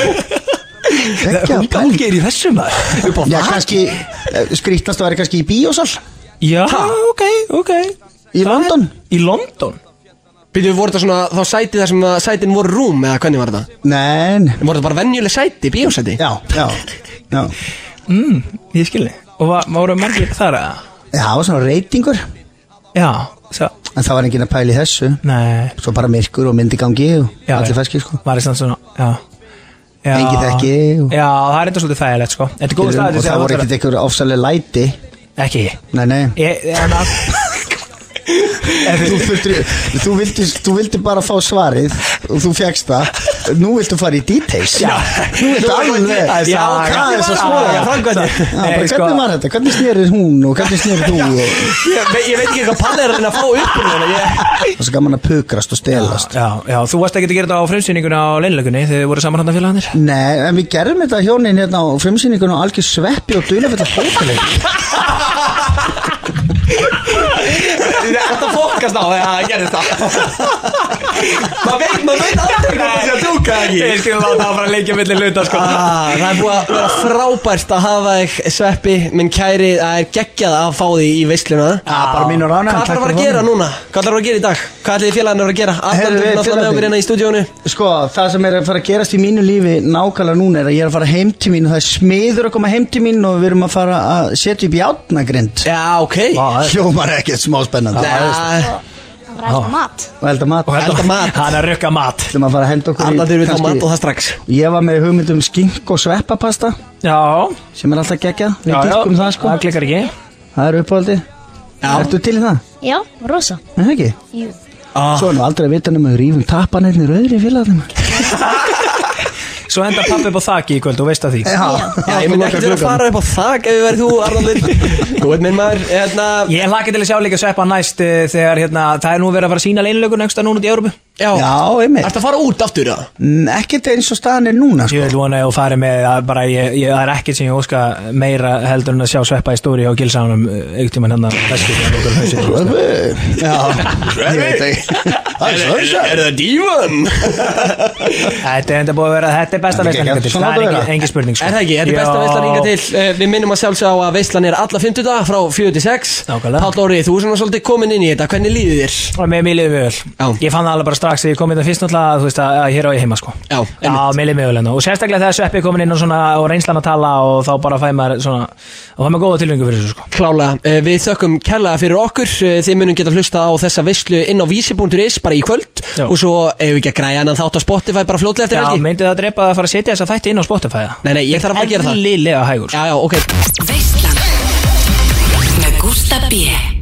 S3: Geggja pælingum
S5: er í þessum maður.
S2: upp á
S3: Já,
S2: það
S3: kannski, skrítnast að vera kannski í bíósal
S5: Já, ok, ok.
S3: Í
S5: Það
S3: London?
S5: Er, í London?
S2: Býtum við voru þetta svona, þá sæti þar sem að sætin voru rúm eða hvernig var þetta?
S3: Nein
S2: Voru þetta bara venjuleg sæti, bíósæti?
S3: Já, já, já
S5: Ég skilji. Og va- voru margir þar að?
S3: Já, það var svona reytingur
S5: Já, svo,
S3: En það var enginn að pæla í þessu
S5: nei,
S3: Svo bara myrkur og myndi gangi og
S5: Já,
S3: allir
S5: já.
S3: feskir sko
S5: var þess að svona, já. já.
S3: Engin þekki og-
S5: Já, það er enda svolítið þægilegt, sko. Þetta er góð
S3: Og
S5: staður til
S3: það voru ekkert einhver ofsaleg læti
S5: Ekki ég.
S3: Nei, nei
S5: Ég, en að...
S3: Þú, þurftir, þú, vildi, þú vildi bara fá svarið og þú fegst það Nú viltu fara í details
S5: Já.
S3: Nú viltu alveg
S5: Það er
S3: Já,
S5: saga.
S3: hvað er svo
S5: Já,
S3: skoða
S5: já, framkvæmdir.
S3: Já,
S5: Nei,
S3: bara
S5: sko-
S3: Hvernig var þetta? Hvernig snerið hún og hvernig snerið þú? Og...
S2: Ég, ve- ég veit ekki hvað pallið er að reyna að fá upp úr hérna ég...
S3: Það er svo gaman að pukrast og stelast
S5: Já, já, þú varst ekki að gera þetta á frumsýninguna á leinlegunni þegar þið voru samanhandafélagarnir
S3: Nei, en við gerðum þetta hjónin hérna á frumsýningun og algjör sveppi og dulafell að hóteleik
S2: Þetta fókast á þegar það gerðist það Maður veit, maður veit aldrei hvað það sé að djóka eða ekki
S5: Ég skil að láta það bara leikja millir hluta sko
S2: Ah, það er búið að vera frábært að hafa þig sveppi, minn kæri, það er geggjað að fá því í veisluna
S3: Já, bara mín og rána
S2: Hvað ætlar að fara að gera núna? Hvað ætlar að gera í dag? Hvað ætlar þið félaginu að gera? Allan
S3: Heyrðu,
S2: er
S3: við
S2: náttúrulega með
S3: félagarnir-
S2: okkur hérna í stúdíónu
S3: Sko, það sem er að fara að gerast í mínu lífi nákvæmlega núna er að ég er að fara heim til mín og það er smiður að koma heim til mín og við erum að fara að setja upp játnagrind
S2: Já, ok
S3: Hjómar ekkert smá spennandi
S2: Alla
S3: Og held að mat
S2: Elda mat.
S5: Hann er að rökka mat
S3: Ætlum að fara að henda okkur
S2: þurfum við þá mat og það strax
S3: Ég var með hugmyndum skink og sveppapasta
S5: Já,
S3: sem er alltaf geggjað
S5: já,
S3: Við
S5: já
S3: dýrkum það sko
S5: Það klikkar ekki
S3: Það er uppáhaldi Ertu til í það?
S8: Já, rosa.
S3: Nei, það ekki?
S2: Ah.
S3: Svo er nú aldrei að vita nema við rýfum tappanirni rauðri félagðum
S5: Svo henda pappi upp á þaki í kvöld, þú veist að því
S2: Já, ég myndi ekkert vera að fara upp á þak ef við verið þú, Arnaldur Þú veit minn maður, hérna
S5: Ég hlakka til að sjá líka sveppa næst eh, þegar hérna, það er nú verið að fara að sína leinlögun einhversta núna út í Európu
S3: Já, einmitt
S2: Ertu að fara út aftur, eða?
S3: Mm, Ekkert eins og staðan er núna sko.
S5: Ég vil vona að þú farið með að bara ég, ég, það er ekkert sem ég óska meira heldur en að sjá sveppa í stóri á gilsánum einhvern tímann hérna vestur þegar hann lokar
S2: Sko,
S5: hausinn.
S3: Já, ég veit ekki Það er
S2: Er það dívan?
S5: Þetta er enda búið að vera, þetta er
S3: Þetta
S5: besta
S3: er
S5: veistlan
S3: geggjað.
S5: hingað til,
S3: Svona
S5: það
S3: átt að
S5: er
S3: vera.
S5: engin- engin spurning sko.
S2: Er það ekki, þetta er
S5: Já.
S2: besta veistlan inga til Eh, Við minnum að sjálfsög á að veistlan er alla 50 dag frá 4 til 6
S5: Nákvæmlega.
S2: Páll Óri, þú er svona svolítið komin inn í þetta, hvernig líður þér?
S5: Og með mér liðið mjög vel
S2: Já.
S5: Ég fann það alveg bara strax þegar ég kom inn fyrst náttúrulega að, Þú veist að, að hér á ég heima sko
S2: Já,
S5: Já, mér liðið mjög vel enná Og sérstaklega þegar sveppi er komin inn og, svona, og reynslan að tala Og þá bara fæ maður svona Og fæ maður góða tilhengu fyrir þessu sko
S2: Klála, Eh, við þökkum kærlega fyrir okkur Eh, Þið munum geta hlusta á þessa veistlu inn á vísi.is bara í kvöld
S5: Já.
S2: Og svo ef við ekki að græja hann þátt á Spotify bara fljótlega eftir
S5: Já,
S2: helgi
S5: myndið það að drepa að fara að setja þessa þætti inn á Spotify eða?
S2: Nei, nei, ég þarf að fara að gera það
S5: Eðlilega hægur sko.
S2: Já, já, ok
S7: Veislan Með Gústa B